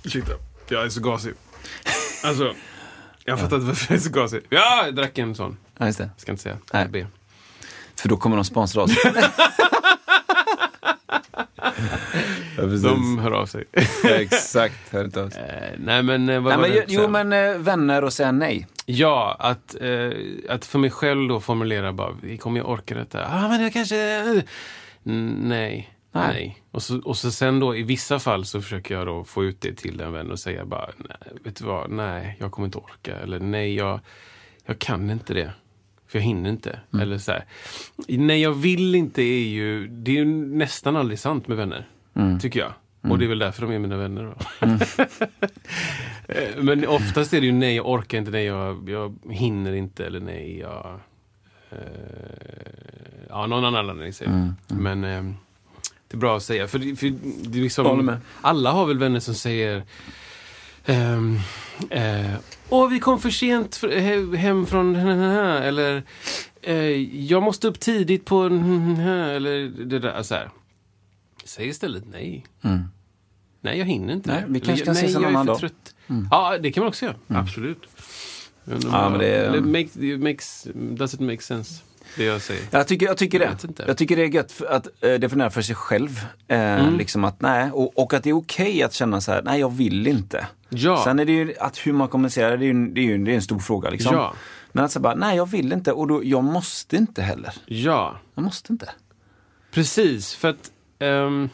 Speaker 3: Ursäkta, jag är så gasig. Alltså, jag fattar inte varför jag är så gasig. Ja, jag drack en sån.
Speaker 2: ja, just det.
Speaker 3: Jag ska inte säga.
Speaker 2: Nej.
Speaker 3: B.
Speaker 2: För då kommer de
Speaker 3: [laughs]
Speaker 2: sponsra oss. ja, precis.
Speaker 3: De hör av sig.
Speaker 2: [laughs] Exakt, hör inte av sig.
Speaker 3: Eh, nej men eh, vad
Speaker 2: Nej, men,
Speaker 3: var det
Speaker 2: ju-
Speaker 3: jag
Speaker 2: jo,
Speaker 3: sa?
Speaker 2: men eh, vänner och säga nej.
Speaker 3: Ja, att, eh, att för mig själv då formulera bara, kommer jag orka detta? ah, men jag kanske... eh, n- Nej. Nej. Och, så, och så sen då i vissa fall så försöker jag då få ut det till en vän och säga bara, nej, vet du vad, nej, jag kommer inte orka. Eller nej, jag, jag kan inte det. För jag hinner inte. Eller så här. Nej, jag vill inte är ju, det är ju nästan aldrig sant med vänner. Tycker jag. Och det är väl därför de är mina vänner då. Eh, Men oftast är det ju nej, jag orkar inte, nej, jag, jag hinner inte eller nej, jag... Eh, ja, någon annan anledning säger jag. Men eh, det är bra att säga. För, det- för det är
Speaker 2: Håller
Speaker 3: liksom,
Speaker 2: med.
Speaker 3: alla har väl vänner som säger ehm, eh, Åh, vi kom för sent för, he, hem från eller eh, Jag måste upp tidigt på eller det där. alltså Så här. Säg istället nej. Nej, jag hinner inte.
Speaker 2: Nej, vi
Speaker 3: Eller,
Speaker 2: kanske kan
Speaker 3: nej,
Speaker 2: ses en
Speaker 3: jag är
Speaker 2: annan
Speaker 3: för
Speaker 2: dag.
Speaker 3: trött. Ja, det kan man också göra. Absolut. Men,
Speaker 2: Ja, men det är-
Speaker 3: eller make, it makes, does it make sense? Det jag säger.
Speaker 2: Jag tycker, jag tycker
Speaker 3: Jag
Speaker 2: det.
Speaker 3: vet inte.
Speaker 2: Jag tycker det är gött för att eh, definiera för sig själv. Eh,
Speaker 3: Mm.
Speaker 2: liksom att, nej, och, och att det är okej att känna så här, nej jag vill inte.
Speaker 3: Ja.
Speaker 2: Sen är det ju att hur man kommunicerar, det är ju, det är ju det är en stor fråga. Liksom.
Speaker 3: Ja.
Speaker 2: Men att säga bara, nej jag vill inte och då, jag måste inte heller.
Speaker 3: Ja,
Speaker 2: Jag måste inte.
Speaker 3: precis. För att ehm,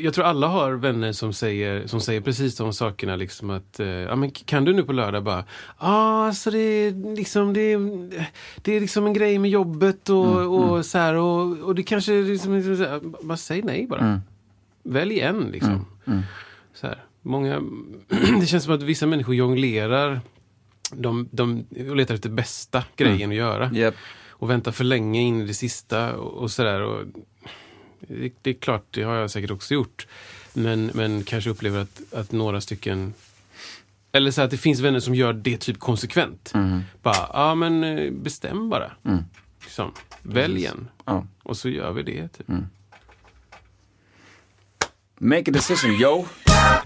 Speaker 3: jag tror alla har vänner som säger, som säger precis de sakerna. Liksom att, eh, ja, men kan du nu på lördag bara, ah, alltså det, är liksom, det, är, det är liksom en grej med jobbet och, och, Så här, och, och det kanske är liksom, liksom, så här, bara säg nej bara. Välj en liksom. Så här, många, [clears throat] det känns som att vissa människor jonglerar de, de och letar efter bästa grejen att göra.
Speaker 2: Japp.
Speaker 3: Och väntar för länge in i det sista och, och sådär. Det, det är klart, det har jag säkert också gjort. Men, men kanske upplever att, att några stycken eller så att det finns vänner som gör det typ konsekvent.
Speaker 2: Mhm.
Speaker 3: Bara, ja men eh, bestäm bara. Liksom. Välj en.
Speaker 2: Mm. Ja. Mm.
Speaker 3: Och så gör vi det. Typ.
Speaker 2: Make a decision, yo!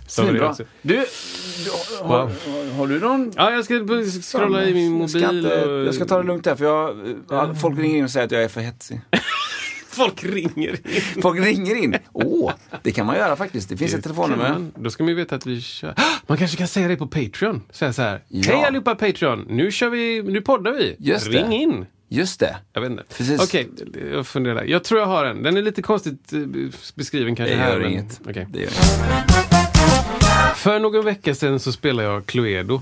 Speaker 2: Svinbra.
Speaker 3: också.
Speaker 2: Du, har,
Speaker 3: Wow.
Speaker 2: har, har du någon
Speaker 3: Ja, jag ska b- scrolla i min
Speaker 2: Jag ska,
Speaker 3: mobil.
Speaker 2: inte,
Speaker 3: och-
Speaker 2: jag ska ta det lugnt här för jag, ja, folk ringer in och säger att jag är för hetsig.
Speaker 3: Folk ringer in.
Speaker 2: Folk ringer in. Åh, det kan man göra faktiskt. Det finns ett
Speaker 3: Kan
Speaker 2: telefonnummer.
Speaker 3: man- Då ska man ju veta att vi kör. Ah, Man kanske kan säga det på Patreon. Säga så här.
Speaker 2: Ja.
Speaker 3: Hej allihopa Patreon! Nu kör vi, nu poddar vi.
Speaker 2: Just det.
Speaker 3: Ring in!
Speaker 2: Just det.
Speaker 3: Jag vet inte.
Speaker 2: Precis.
Speaker 3: Okej, jag funderar. Jag tror jag har en. Den är lite konstigt eh, beskriven kanske.
Speaker 2: Det
Speaker 3: här,
Speaker 2: gör
Speaker 3: men-
Speaker 2: inget.
Speaker 3: okej.
Speaker 2: Det gör inget.
Speaker 3: För någon vecka sedan så spelade jag Cluedo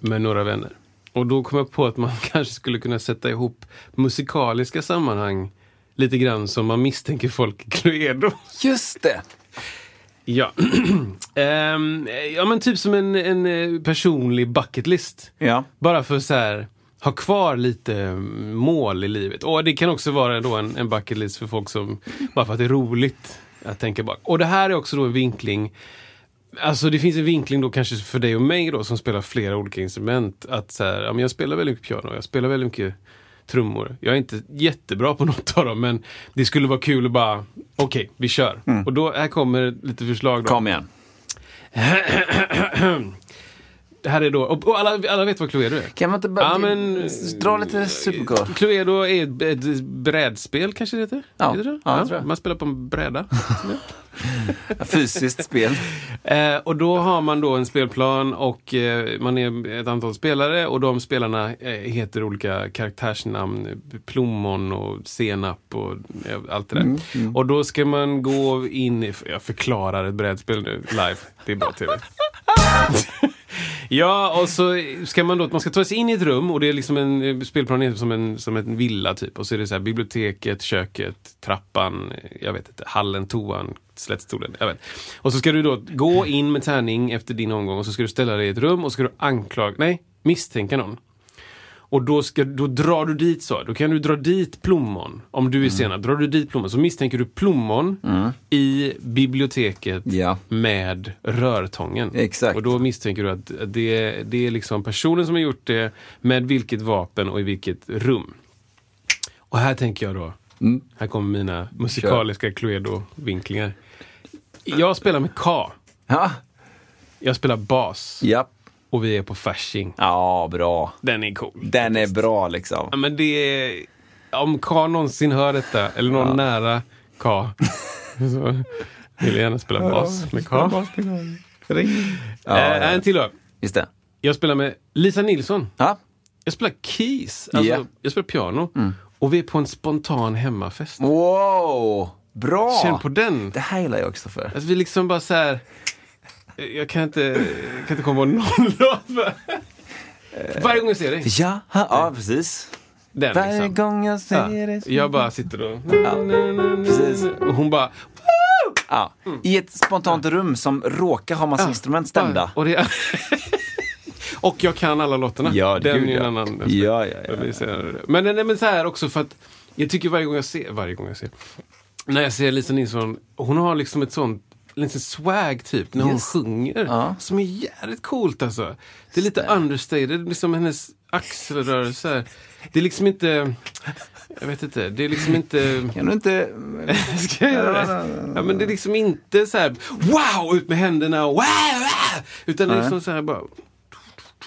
Speaker 3: med några vänner. Och då kom jag på att man [laughs] kanske skulle kunna sätta ihop musikaliska sammanhang lite grann som man misstänker folk i Cluedo.
Speaker 2: Just det.
Speaker 3: Ja. [clears throat] Ehm, ja men typ som en, en eh, personlig bucketlist.
Speaker 2: Ja.
Speaker 3: Bara för så här ha kvar lite mm, mål i livet. Och det kan också vara då en, en bucketlist för folk som, bara för att det är roligt att tänka bak. Och det här är också då en vinkling Alltså det finns en vinkling då kanske för dig och mig då som spelar flera olika instrument. Att så här, ja, men jag spelar väldigt mycket piano, jag spelar väldigt mycket trummor. Jag är inte jättebra på [laughs] något av dem men det skulle vara kul att bara, okej, vi kör. Och då, här kommer lite förslag då.
Speaker 2: Kom igen.
Speaker 3: Det här är då, och, och alla, alla vet vad Cluedo är?
Speaker 2: Kan man inte
Speaker 3: Ja, men-
Speaker 2: dra lite supergod?
Speaker 3: Cluedo är ett, ett brädspel kanske det heter?
Speaker 2: Ja.
Speaker 3: Heter det?
Speaker 2: Ja, jag tror det.
Speaker 3: Man spelar på
Speaker 2: [laughs]
Speaker 3: en bräda.
Speaker 2: Fysiskt spel.
Speaker 3: Eh, och då har man då en spelplan och eh, man är ett antal spelare och de spelarna eh, heter olika karaktärsnamn. Plommon och senap och eh, allt det där.
Speaker 2: Mm,
Speaker 3: Och då ska man gå in i... Jag förklarar ett brädspel nu live. Det är bra TV. Ja, och så ska man då, man ska ta sig in i ett rum och det är liksom en eh, spelplan är som en, som en villa typ. Och så är det så här biblioteket, köket, trappan, eh, jag vet inte, hallen, toan, slättstolen, jag vet. Och så ska du då gå in med tärning efter din omgång och så ska du ställa dig i ett rum och så ska du anklaga, nej, misstänka någon. Och då, ska, då drar du dit så. Då kan du dra dit plommon. Om du är senap, drar du dit plommon så misstänker du plommon i biblioteket
Speaker 2: Ja.
Speaker 3: med rörtången.
Speaker 2: Exakt.
Speaker 3: Och då misstänker du att det, det är liksom personen som har gjort det med vilket vapen och i vilket rum. Och här tänker jag då,
Speaker 2: Mm.
Speaker 3: här kommer mina musikaliska Cluedo-vinklingar. Jag spelar med K.
Speaker 2: Ja,
Speaker 3: Jag spelar bas
Speaker 2: japp.
Speaker 3: och vi är på Fasching.
Speaker 2: Ja, bra.
Speaker 3: Den är cool.
Speaker 2: Den är bra
Speaker 3: Ja,
Speaker 2: liksom.
Speaker 3: men det är... Om K någonsin hör detta, eller någon nära
Speaker 2: [laughs]
Speaker 3: K, så vill jag gärna spela bas med K.
Speaker 2: Ja,
Speaker 3: Eh,
Speaker 2: ja.
Speaker 3: En till då.
Speaker 2: Just det.
Speaker 3: Jag spelar med Lisa Nilsson.
Speaker 2: Ja,
Speaker 3: Jag spelar keys, alltså,
Speaker 2: Ja. Mm.
Speaker 3: jag spelar piano. Och vi är på en spontan hemmafest.
Speaker 2: Wow! Bra!
Speaker 3: Känn på den!
Speaker 2: Det här gillar jag också för.
Speaker 3: Alltså, vi liksom bara så här... Jag kan inte, jag kan inte komma på någon [laughs] låt. va? Varje gång jag ser dig.
Speaker 2: Ja, ha, ja precis.
Speaker 3: Den
Speaker 2: Varje
Speaker 3: liksom.
Speaker 2: gång jag
Speaker 3: Ja.
Speaker 2: ser dig.
Speaker 3: Jag bara sitter och...
Speaker 2: precis.
Speaker 3: Och hon bara...
Speaker 2: Ja. Mm. I ett spontant rum som råkar ha massa instrument stämda.
Speaker 3: Och, det, [laughs] och jag kan alla låtarna.
Speaker 2: Ja,
Speaker 3: den
Speaker 2: gud,
Speaker 3: är ju en
Speaker 2: ja.
Speaker 3: annan.
Speaker 2: Ja, ja, ja.
Speaker 3: Det blir senare. Men, nej, men så här också för att jag tycker varje gång jag ser, varje gång jag ser, när jag ser Lisa Nilsson, hon har liksom ett sånt Lite swag typ när hon
Speaker 2: Yes.
Speaker 3: sjunger. Som är jävligt coolt alltså. Det är lite understated, liksom hennes axelrörelser. Det är liksom inte... Jag vet inte. Det är liksom inte...
Speaker 2: Kan du inte...
Speaker 3: [laughs] Ska jag göra det? Ja, men det är liksom inte så här wow, ut med händerna och wow, wow utan det är liksom så här bara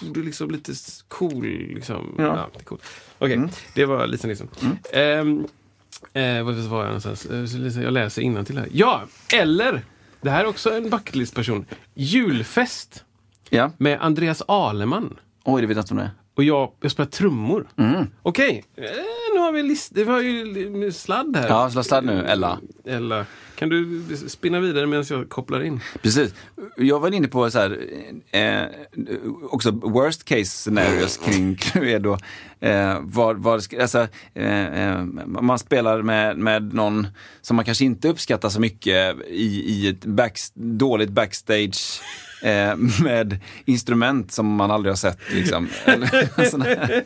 Speaker 3: det är liksom lite s- cool. Liksom. Ja. det är cool. Okej,
Speaker 2: Mm.
Speaker 3: det var Lisa Nilsson. Ehm, eh, vad var jag någonstans? Eh, så Lisa, Jag läser innantill här. Ja, eller, det här är också en bucketlist-person. Julfest
Speaker 2: Ja.
Speaker 3: med Andreas Aleman.
Speaker 2: Oj, det vet jag inte om det är.
Speaker 3: Och jag, jag spelar trummor.
Speaker 2: Mm.
Speaker 3: Okej, eh, nu har vi, list, vi har ju li- sladd här.
Speaker 2: Ja, slå sladd nu, Ella.
Speaker 3: Ella, kan du spinna vidare medan jag kopplar in?
Speaker 2: Precis. Jag var inne på så här, eh, också worst case scenarios
Speaker 3: Mm.
Speaker 2: kring [laughs] Cluedo. Eh, var, var, alltså, eh, eh, man spelar med, med någon som man kanske inte uppskattar så mycket i, i ett back, dåligt backstage eh, [laughs] med instrument som man aldrig har sett. Liksom.
Speaker 3: [laughs]
Speaker 2: Eller, [laughs] sån här.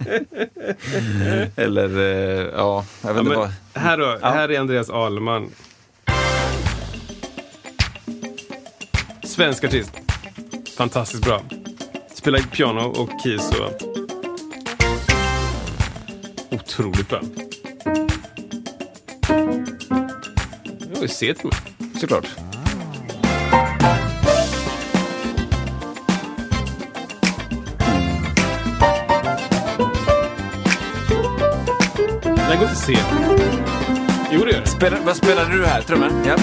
Speaker 2: Eller eh, ja, jag vet inte vad.
Speaker 3: här då, här är Andreas Ahlman. Svensk artist. Fantastiskt bra. Spelar piano och keys och allt. Otroligt bra. Det var ju C till mig.
Speaker 2: Såklart.
Speaker 3: Den går till C. Jo, det gör det.
Speaker 2: Spela, vad spelade du här? Trummor? Ja.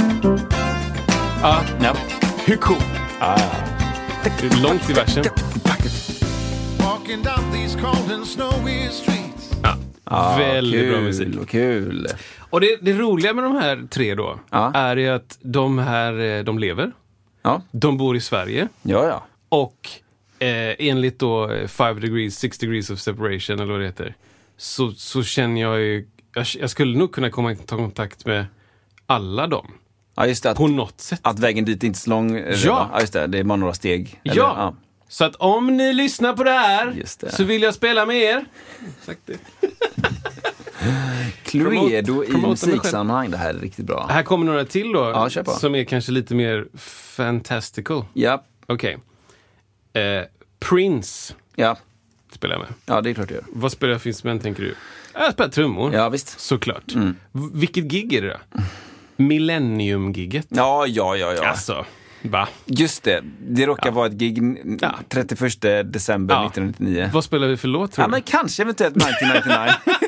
Speaker 3: Ja,
Speaker 2: ja.
Speaker 3: hur cool? Det är långt i versen.
Speaker 6: Walking down these cold and snowy streets.
Speaker 3: Väldigt
Speaker 2: Ah, kul,
Speaker 3: bra musik.
Speaker 2: Kul.
Speaker 3: Och det, det roliga med de här tre då,
Speaker 2: Ja.
Speaker 3: är ju att de här, eh, de lever,
Speaker 2: Ja,
Speaker 3: de bor i Sverige
Speaker 2: ja. ja.
Speaker 3: och eh, enligt då eh, five degrees, six degrees of separation eller vad det heter, så, så känner jag ju, jag, jag skulle nog kunna komma i ta kontakt med alla dem.
Speaker 2: Ja, just det. Att,
Speaker 3: På något sätt.
Speaker 2: att vägen dit är inte är så lång. eh,
Speaker 3: Ja.
Speaker 2: va? just det. Det är bara några steg. Eller,
Speaker 3: ja. Så att om ni lyssnar på det här
Speaker 2: Just det.
Speaker 3: så vill jag spela med er. Exakt det.
Speaker 2: Cluedo
Speaker 3: Promote-
Speaker 2: i
Speaker 3: promote mig själv.
Speaker 2: musiksammanhang. Det här är riktigt bra.
Speaker 3: Här kommer några till då,
Speaker 2: Ja, kör på.
Speaker 3: som är kanske lite mer fantastical.
Speaker 2: Ja,
Speaker 3: Okej. Eh, Prince
Speaker 2: ja,
Speaker 3: spelar jag med.
Speaker 2: ja, det är klart det gör.
Speaker 3: Vad spelar jag för instrument, tänker du? Jag spelar trummor,
Speaker 2: Ja, visst. Mm.
Speaker 3: såklart. V- vilket gig är det då? Millennium-gigget.
Speaker 2: Ja, ja, ja, ja.
Speaker 3: Alltså, va?
Speaker 2: Just det. Det råkar vara ett gig mm,
Speaker 3: Ja.
Speaker 2: 31 december
Speaker 3: Ja.
Speaker 2: 1999.
Speaker 3: Vad spelar vi för låt, tror
Speaker 2: Ja,
Speaker 3: du?
Speaker 2: men kanske eventuellt
Speaker 3: [laughs]
Speaker 2: 1999. [laughs]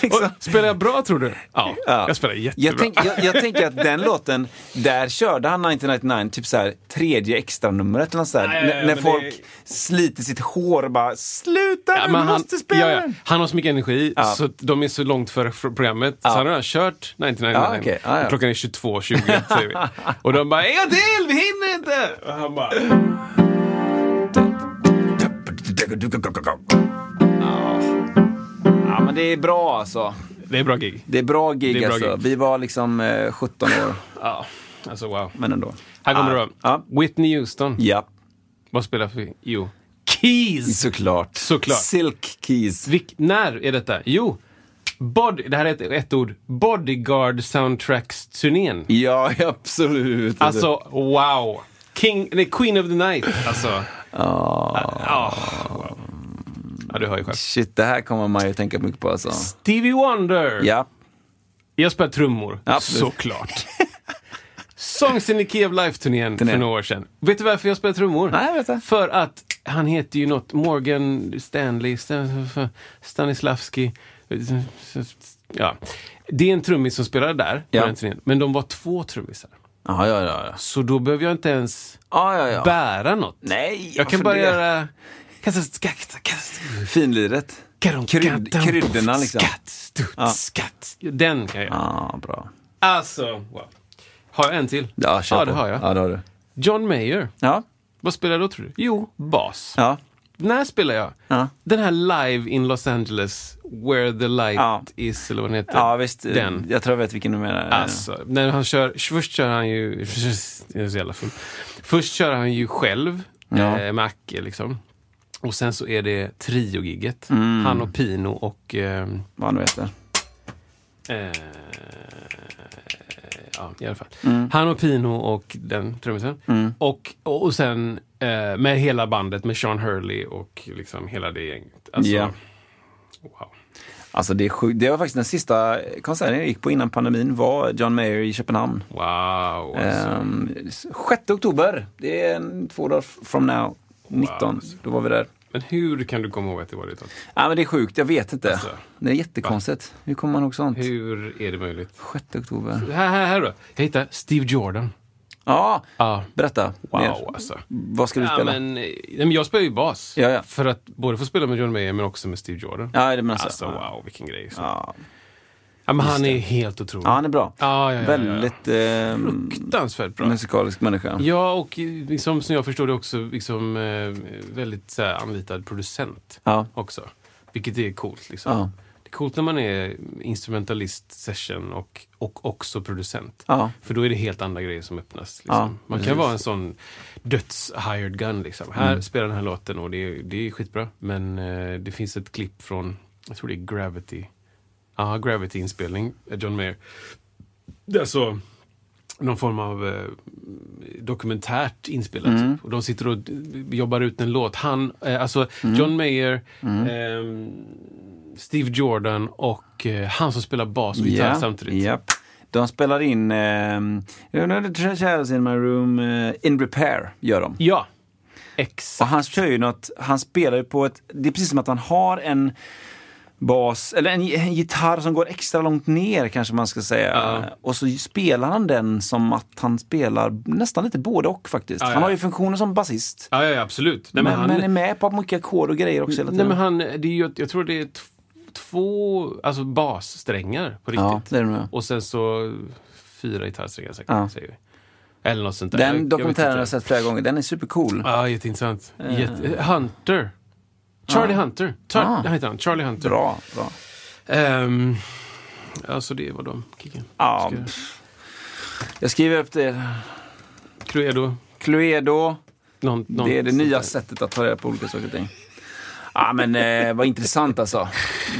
Speaker 2: liksom.
Speaker 3: Och, spelar jag bra, tror du? Ja,
Speaker 2: Ja.
Speaker 3: jag spelar jättebra.
Speaker 2: Jag, tänk, jag, jag tänker att den låten, där körde han 1999 typ så här, tredje extra numret eller något sånt där.
Speaker 3: Ja, ja, ja,
Speaker 2: N- när
Speaker 3: men
Speaker 2: folk
Speaker 3: det-
Speaker 2: sliter sitt hår och bara “Sluta
Speaker 3: Ja,
Speaker 2: nu,
Speaker 3: men
Speaker 2: du
Speaker 3: han,
Speaker 2: måste spela
Speaker 3: ja, ja.
Speaker 2: den!”
Speaker 3: han har så mycket energi,
Speaker 2: Ja.
Speaker 3: så att de är så långt före fr- programmet. Så han har redan kört 99
Speaker 2: Ja, okej. Ja, ja.
Speaker 3: Klockan är 22.20
Speaker 2: [laughs]
Speaker 3: säger vi. Och de bara, en gång till, vi hinner inte! Och han bara,
Speaker 2: Ja, men det är bra alltså.
Speaker 3: det är bra gig.
Speaker 2: Det är bra gig
Speaker 3: Det är bra
Speaker 2: alltså.
Speaker 3: gig.
Speaker 2: Vi var liksom eh, 17 år,
Speaker 3: Ja, alltså wow.
Speaker 2: men ändå.
Speaker 3: Här kommer
Speaker 2: Ja.
Speaker 3: det
Speaker 2: Ja.
Speaker 3: då. Whitney Houston.
Speaker 2: Ja,
Speaker 3: Vad spelar för... Jo. Keys!
Speaker 2: såklart.
Speaker 3: Såklart.
Speaker 2: Silk Keys.
Speaker 3: Vilk, när är detta? Jo. Body, det här är ett, ett ord. Bodyguard Soundtracks-turnén.
Speaker 2: Ja, [laughs] absolut.
Speaker 3: Alltså, wow! King, nej, Queen of the Night, alltså. Ah, wow. Ja, du hör ju själv.
Speaker 2: Shit, det här kommer man ju tänka mycket på alltså.
Speaker 3: Stevie Wonder!
Speaker 2: Ja,
Speaker 3: Jag spelar trummor,
Speaker 2: Absolut.
Speaker 3: såklart. [laughs] Songs in the Key of Life-turnén för
Speaker 2: Turné.
Speaker 3: några år sedan. Vet du varför jag spelar trummor?
Speaker 2: Nej, jag vet inte.
Speaker 3: För att han heter ju något Morgan Stanley, Stan- Stanislavski. Ja. Det är en trummis som spelade där, på
Speaker 2: Ja.
Speaker 3: den turnén. men de var två trummisar.
Speaker 2: ja, ja. ja, ja.
Speaker 3: Så då behöver jag inte ens
Speaker 2: ja, ja, ja.
Speaker 3: bära något.
Speaker 2: Nej,
Speaker 3: Jag kan
Speaker 2: varför
Speaker 3: bara
Speaker 2: det?
Speaker 3: göra...
Speaker 2: Finliret. Krydd, kryddorna liksom.
Speaker 3: Skatt, stutt, skatt. Den kan jag göra.
Speaker 2: Ja, bra.
Speaker 3: Alltså, wow. Har jag en till?
Speaker 2: Ja, kör
Speaker 3: ja
Speaker 2: på.
Speaker 3: det har jag.
Speaker 2: Ja, det har du.
Speaker 3: John Mayer.
Speaker 2: Ja,
Speaker 3: Vad spelar jag då tror du? Jo, bas.
Speaker 2: ja.
Speaker 3: När spelar jag?
Speaker 2: Ja.
Speaker 3: Den här live in Los Angeles, Where the light
Speaker 2: Ja.
Speaker 3: is, eller vad den heter.
Speaker 2: ja visst.
Speaker 3: Den.
Speaker 2: Jag tror jag vet vilken du menar.
Speaker 3: Alltså, när han kör, först kör han ju, [laughs] jag är så jävla full. Först kör han ju själv
Speaker 2: Ja.
Speaker 3: eh, med Acke liksom. Och sen så är det trio-gigget.
Speaker 2: Mm.
Speaker 3: Han och Pino och... Eh,
Speaker 2: Vad han nu heter.
Speaker 3: eh, ja, i alla fall.
Speaker 2: Mm.
Speaker 3: Han och Pino och den trummisen. Och, och, och sen eh, med hela bandet med Sean Hurley och liksom hela det gänget. Alltså,
Speaker 2: Ja.
Speaker 3: wow.
Speaker 2: Alltså det är sjukt. Det var faktiskt den sista konserten jag gick på innan pandemin var John Mayer i Köpenhamn.
Speaker 3: Wow, alltså.
Speaker 2: Ehm, 6 oktober. Det är en, två dagar from now. 19. Då var vi där.
Speaker 3: Men hur kan du komma ihåg att det var det?
Speaker 2: Ja, men det är sjukt. Jag vet inte.
Speaker 3: Alltså.
Speaker 2: det är jättekonstigt. Hur kommer man ihåg sånt?
Speaker 3: Hur är det möjligt?
Speaker 2: 6 oktober.
Speaker 3: Här, här, här då. Jag hittade Steve Jordan.
Speaker 2: Ja,
Speaker 3: Ja.
Speaker 2: berätta.
Speaker 3: Wow,
Speaker 2: mer.
Speaker 3: alltså.
Speaker 2: Vad ska du
Speaker 3: Ja,
Speaker 2: spela?
Speaker 3: men, eh, nej, men jag spelar ju bas.
Speaker 2: Ja, ja.
Speaker 3: För att både få spela med John Mayer men också med Steve Jordan.
Speaker 2: Ja, det menar jag.
Speaker 3: Alltså wow, vilken grej. Så.
Speaker 2: Ja.
Speaker 3: Ja, men han är helt otrolig.
Speaker 2: Ja, han är bra.
Speaker 3: Ja, ja, ja,
Speaker 2: Väldigt eh,
Speaker 3: Fruktansvärt bra.
Speaker 2: musikalisk människa.
Speaker 3: Ja, och eh, liksom, som jag förstår det också liksom, eh, väldigt så här, anlitad producent
Speaker 2: Ja.
Speaker 3: också. Vilket är coolt. Liksom.
Speaker 2: Ja.
Speaker 3: Det är coolt när man är instrumentalist, session och, och också producent.
Speaker 2: Ja.
Speaker 3: För då är det helt andra grejer som öppnas. Liksom.
Speaker 2: Ja,
Speaker 3: man kan vara en sån döds-hired gun. Liksom. Här
Speaker 2: Mm.
Speaker 3: spelar den här låten och det är, det är skitbra. Men eh, det finns ett klipp från, jag tror det är Gravity. Ja, Gravity-inspelning, eh, John Mayer. Det är så någon form av eh, dokumentärt inspelat.
Speaker 2: Mm.
Speaker 3: Och de sitter och d- jobbar ut en låt. Han, eh, alltså
Speaker 2: Mm.
Speaker 3: John Mayer, ehm, Steve Jordan och eh, han som spelar bas och gitarr
Speaker 2: Ja,
Speaker 3: samtidigt.
Speaker 2: japp. De spelar in ehm, You know the trash house in my room, eh, In Repair gör de.
Speaker 3: Ja,
Speaker 2: Och
Speaker 3: exakt.
Speaker 2: han kör ju något, han spelar ju på ett, det är precis som att han har en bas, eller en, en gitarr som går extra långt ner kanske man ska säga.
Speaker 3: Ja.
Speaker 2: Och så spelar han den som att han spelar nästan lite både och faktiskt.
Speaker 3: ja.
Speaker 2: Han har ju funktioner som basist.
Speaker 3: Ja, ja, ja, absolut. Nej,
Speaker 2: Men,
Speaker 3: men
Speaker 2: men,
Speaker 3: han,
Speaker 2: är med på mycket ackord och grejer också hela
Speaker 3: nej,
Speaker 2: tiden.
Speaker 3: men han, det är ju, jag tror det är t- två alltså bassträngar på
Speaker 2: ja,
Speaker 3: riktigt.
Speaker 2: det är det med.
Speaker 3: och sen så fyra gitarrsträngar säkert,
Speaker 2: Ja.
Speaker 3: säger vi. Eller något sånt där. Jag- jag
Speaker 2: Den
Speaker 3: vet
Speaker 2: dokumentären har
Speaker 3: inte.
Speaker 2: jag sett Eh. flera gånger. Den är supercool.
Speaker 3: Ja, jätteintressant. Jätte- Hunter. Charlie Hunter. Tar-
Speaker 2: Ah.
Speaker 3: Han heter han. Charlie Hunter.
Speaker 2: Bra, bra.
Speaker 3: Ehm, alltså det var de kicken.
Speaker 2: Ja,
Speaker 3: Ska jag-
Speaker 2: pff. jag skriver upp det.
Speaker 3: Cluedo.
Speaker 2: Cluedo.
Speaker 3: Någon, någon
Speaker 2: det är det
Speaker 3: sånt
Speaker 2: nya
Speaker 3: där.
Speaker 2: sättet att ta reda på olika saker och ting. Ja, men eh, vad intressant alltså.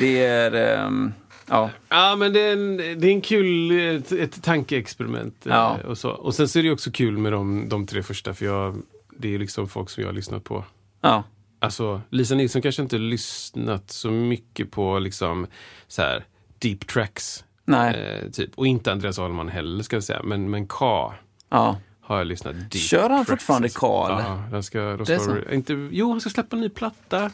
Speaker 2: Det är... ehm, ja.
Speaker 3: Ja, men det är en, det är en kul eh, ett, ett tankeexperiment. eh,
Speaker 2: Ja.
Speaker 3: Och, så. och sen så är det ju också kul med de, de tre första, för jag, det är ju liksom folk som jag har lyssnat på.
Speaker 2: ja.
Speaker 3: Alltså, Lisa Nilsson kanske inte lyssnat så mycket på liksom så här deep tracks.
Speaker 2: Nej.
Speaker 3: eh, typ. Och inte Andreas Ahlman heller, ska jag säga. Men, men K
Speaker 2: ja.
Speaker 3: har jag lyssnat deep
Speaker 2: Kör han
Speaker 3: tracks,
Speaker 2: fortfarande
Speaker 3: alltså.
Speaker 2: K, eller?
Speaker 3: Ja, den ska, de
Speaker 2: Det är Mm.
Speaker 3: ska, inte, jo, han ska släppa en ny platta.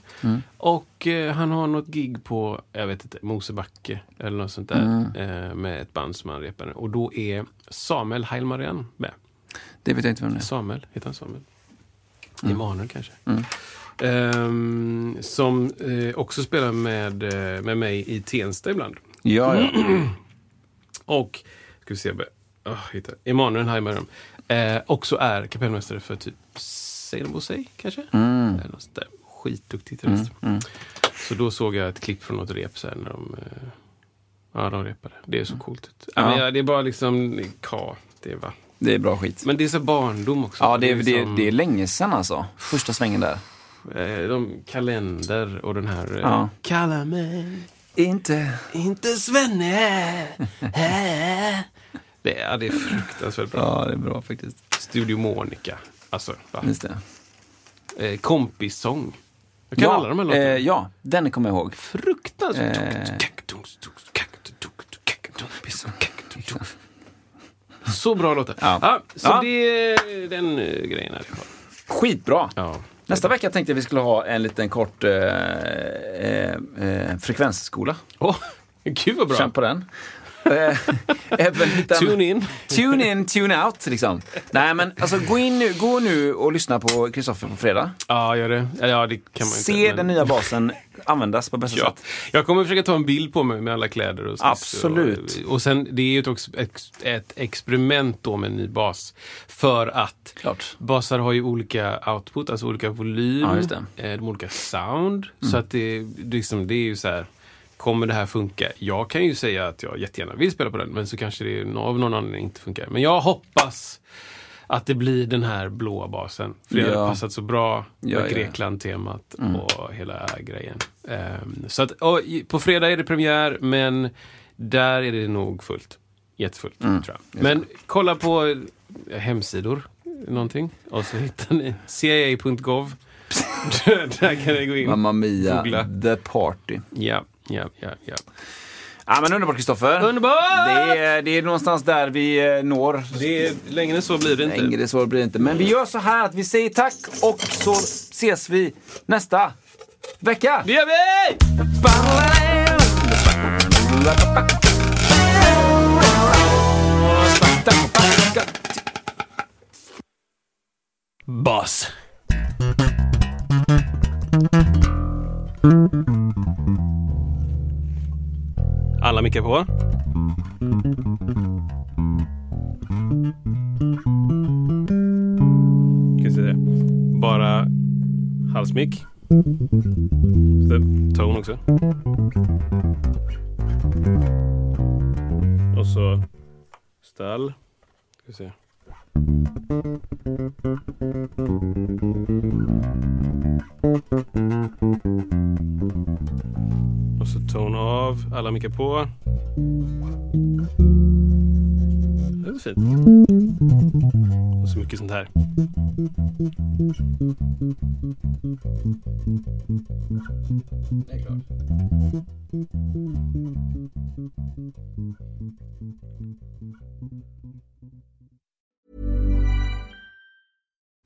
Speaker 3: Och eh, han har något gig på, jag vet inte, Mosebacke eller något sånt där.
Speaker 2: Mm.
Speaker 3: Eh, med ett band som han repar. Och då är Samuel Heilmarian med.
Speaker 2: Det vet jag inte vem det är.
Speaker 3: Samuel, heter han Samuel?
Speaker 2: Mm.
Speaker 3: Emanuel kanske? Ehm, som eh, också spelar med, eh, med mig i Tensta ibland.
Speaker 2: Ja, ja.
Speaker 3: Och, ska vi se, oh, hitta. Emanuel Heimerum. Eh, också är kapellmästare för typ Sailor Say kanske?
Speaker 2: Mm.
Speaker 3: Eller något sånt där. Skitduktig terrorist. Så då såg jag ett klipp från något rep så här när de, eh, ja, de repade. Det är så coolt ut. Ja. Men,
Speaker 2: Mm. Ja.
Speaker 3: ja, det är bara liksom, K, det är va.
Speaker 2: Det är bra skit.
Speaker 3: Men det är så barndom också.
Speaker 2: Ja, det är, det,
Speaker 3: liksom-
Speaker 2: är- det är länge sedan alltså. Första svängen där.
Speaker 3: Eh, de kalender och den här... eh,
Speaker 2: Ja.
Speaker 3: Kalla mig
Speaker 2: Inte... [laughs]
Speaker 3: inte Svenne. Hä? det, är, ja, det är fruktansvärt bra.
Speaker 2: Ja, det är bra faktiskt.
Speaker 3: Studio Monica. Alltså, va?
Speaker 2: Just det.
Speaker 3: Eh, kompissång. Jag kan alla de här låtarna.
Speaker 2: eh, Ja, den kommer jag ihåg.
Speaker 3: Fruktansvärt.
Speaker 2: eh.
Speaker 3: Så bra låtar.
Speaker 2: Ja.
Speaker 3: Ja, så
Speaker 2: Ja.
Speaker 3: det är den eh, grejen här.
Speaker 2: Skitbra!
Speaker 3: Ja.
Speaker 2: Nästa vecka tänkte jag vi skulle ha en liten kort eh, eh, eh, frekvensskola.
Speaker 3: Åh, gud vad bra.
Speaker 2: Känn på den. Eh, [laughs] Även hitta en-
Speaker 3: Tune in.
Speaker 2: Tune in, tune out liksom. Nej men alltså gå in nu, gå nu och lyssna på Kristoffer på fredag.
Speaker 3: Ja, gör det. Eller, Ja, det kan man
Speaker 2: Se
Speaker 3: inte, men-
Speaker 2: den nya basen användas på bästa
Speaker 3: Ja.
Speaker 2: sätt.
Speaker 3: Jag kommer försöka ta en bild på mig med alla kläder. Och sniss
Speaker 2: Absolut.
Speaker 3: Och, och sen, det är ju ett, ox- ex- ett experiment då med en ny bas. För att
Speaker 2: Klart.
Speaker 3: basar har ju olika output, alltså olika volym.
Speaker 2: Ja, just det. Mm.
Speaker 3: eh, de har olika sound. Så att det, det liksom, det är ju så här. Kommer det här funka? Jag kan ju säga att jag jättegärna vill spela på den, men så kanske det nå- av någon anledning inte funkar. Men jag hoppas att det blir den här blåa basen. För det
Speaker 2: Ja.
Speaker 3: hade passat så bra med
Speaker 2: Ja, ja, Mm. ja.
Speaker 3: Grekland-temat och hela grejen. Ehm, så att, och, i- på fredag är det premiär, men där är det nog fullt. Jättefullt,
Speaker 2: Mm.
Speaker 3: tror jag. Men kolla på eh, hemsidor, någonting. Och så hittar ni cia.gov. [laughs] där kan ni gå in.
Speaker 2: Mamma Mia,
Speaker 3: Googla.
Speaker 2: The Party.
Speaker 3: Ja, ja, ja, ja.
Speaker 2: Ja men underbart Kristoffer.
Speaker 3: Underbart!
Speaker 2: Det är, det är någonstans där vi eh, når.
Speaker 3: Det är, längre än så blir det inte.
Speaker 2: Längre så blir det inte. Men vi gör så här att vi säger tack och så ses vi nästa vecka.
Speaker 3: Det gör vi! Boss. Alla mickar på. Ska vi se det. Bara halsmick. Så Tone också. Och så stall. Ska vi se. Och så tone av. Alla mickar på. Det var fint. Och så mycket sånt här.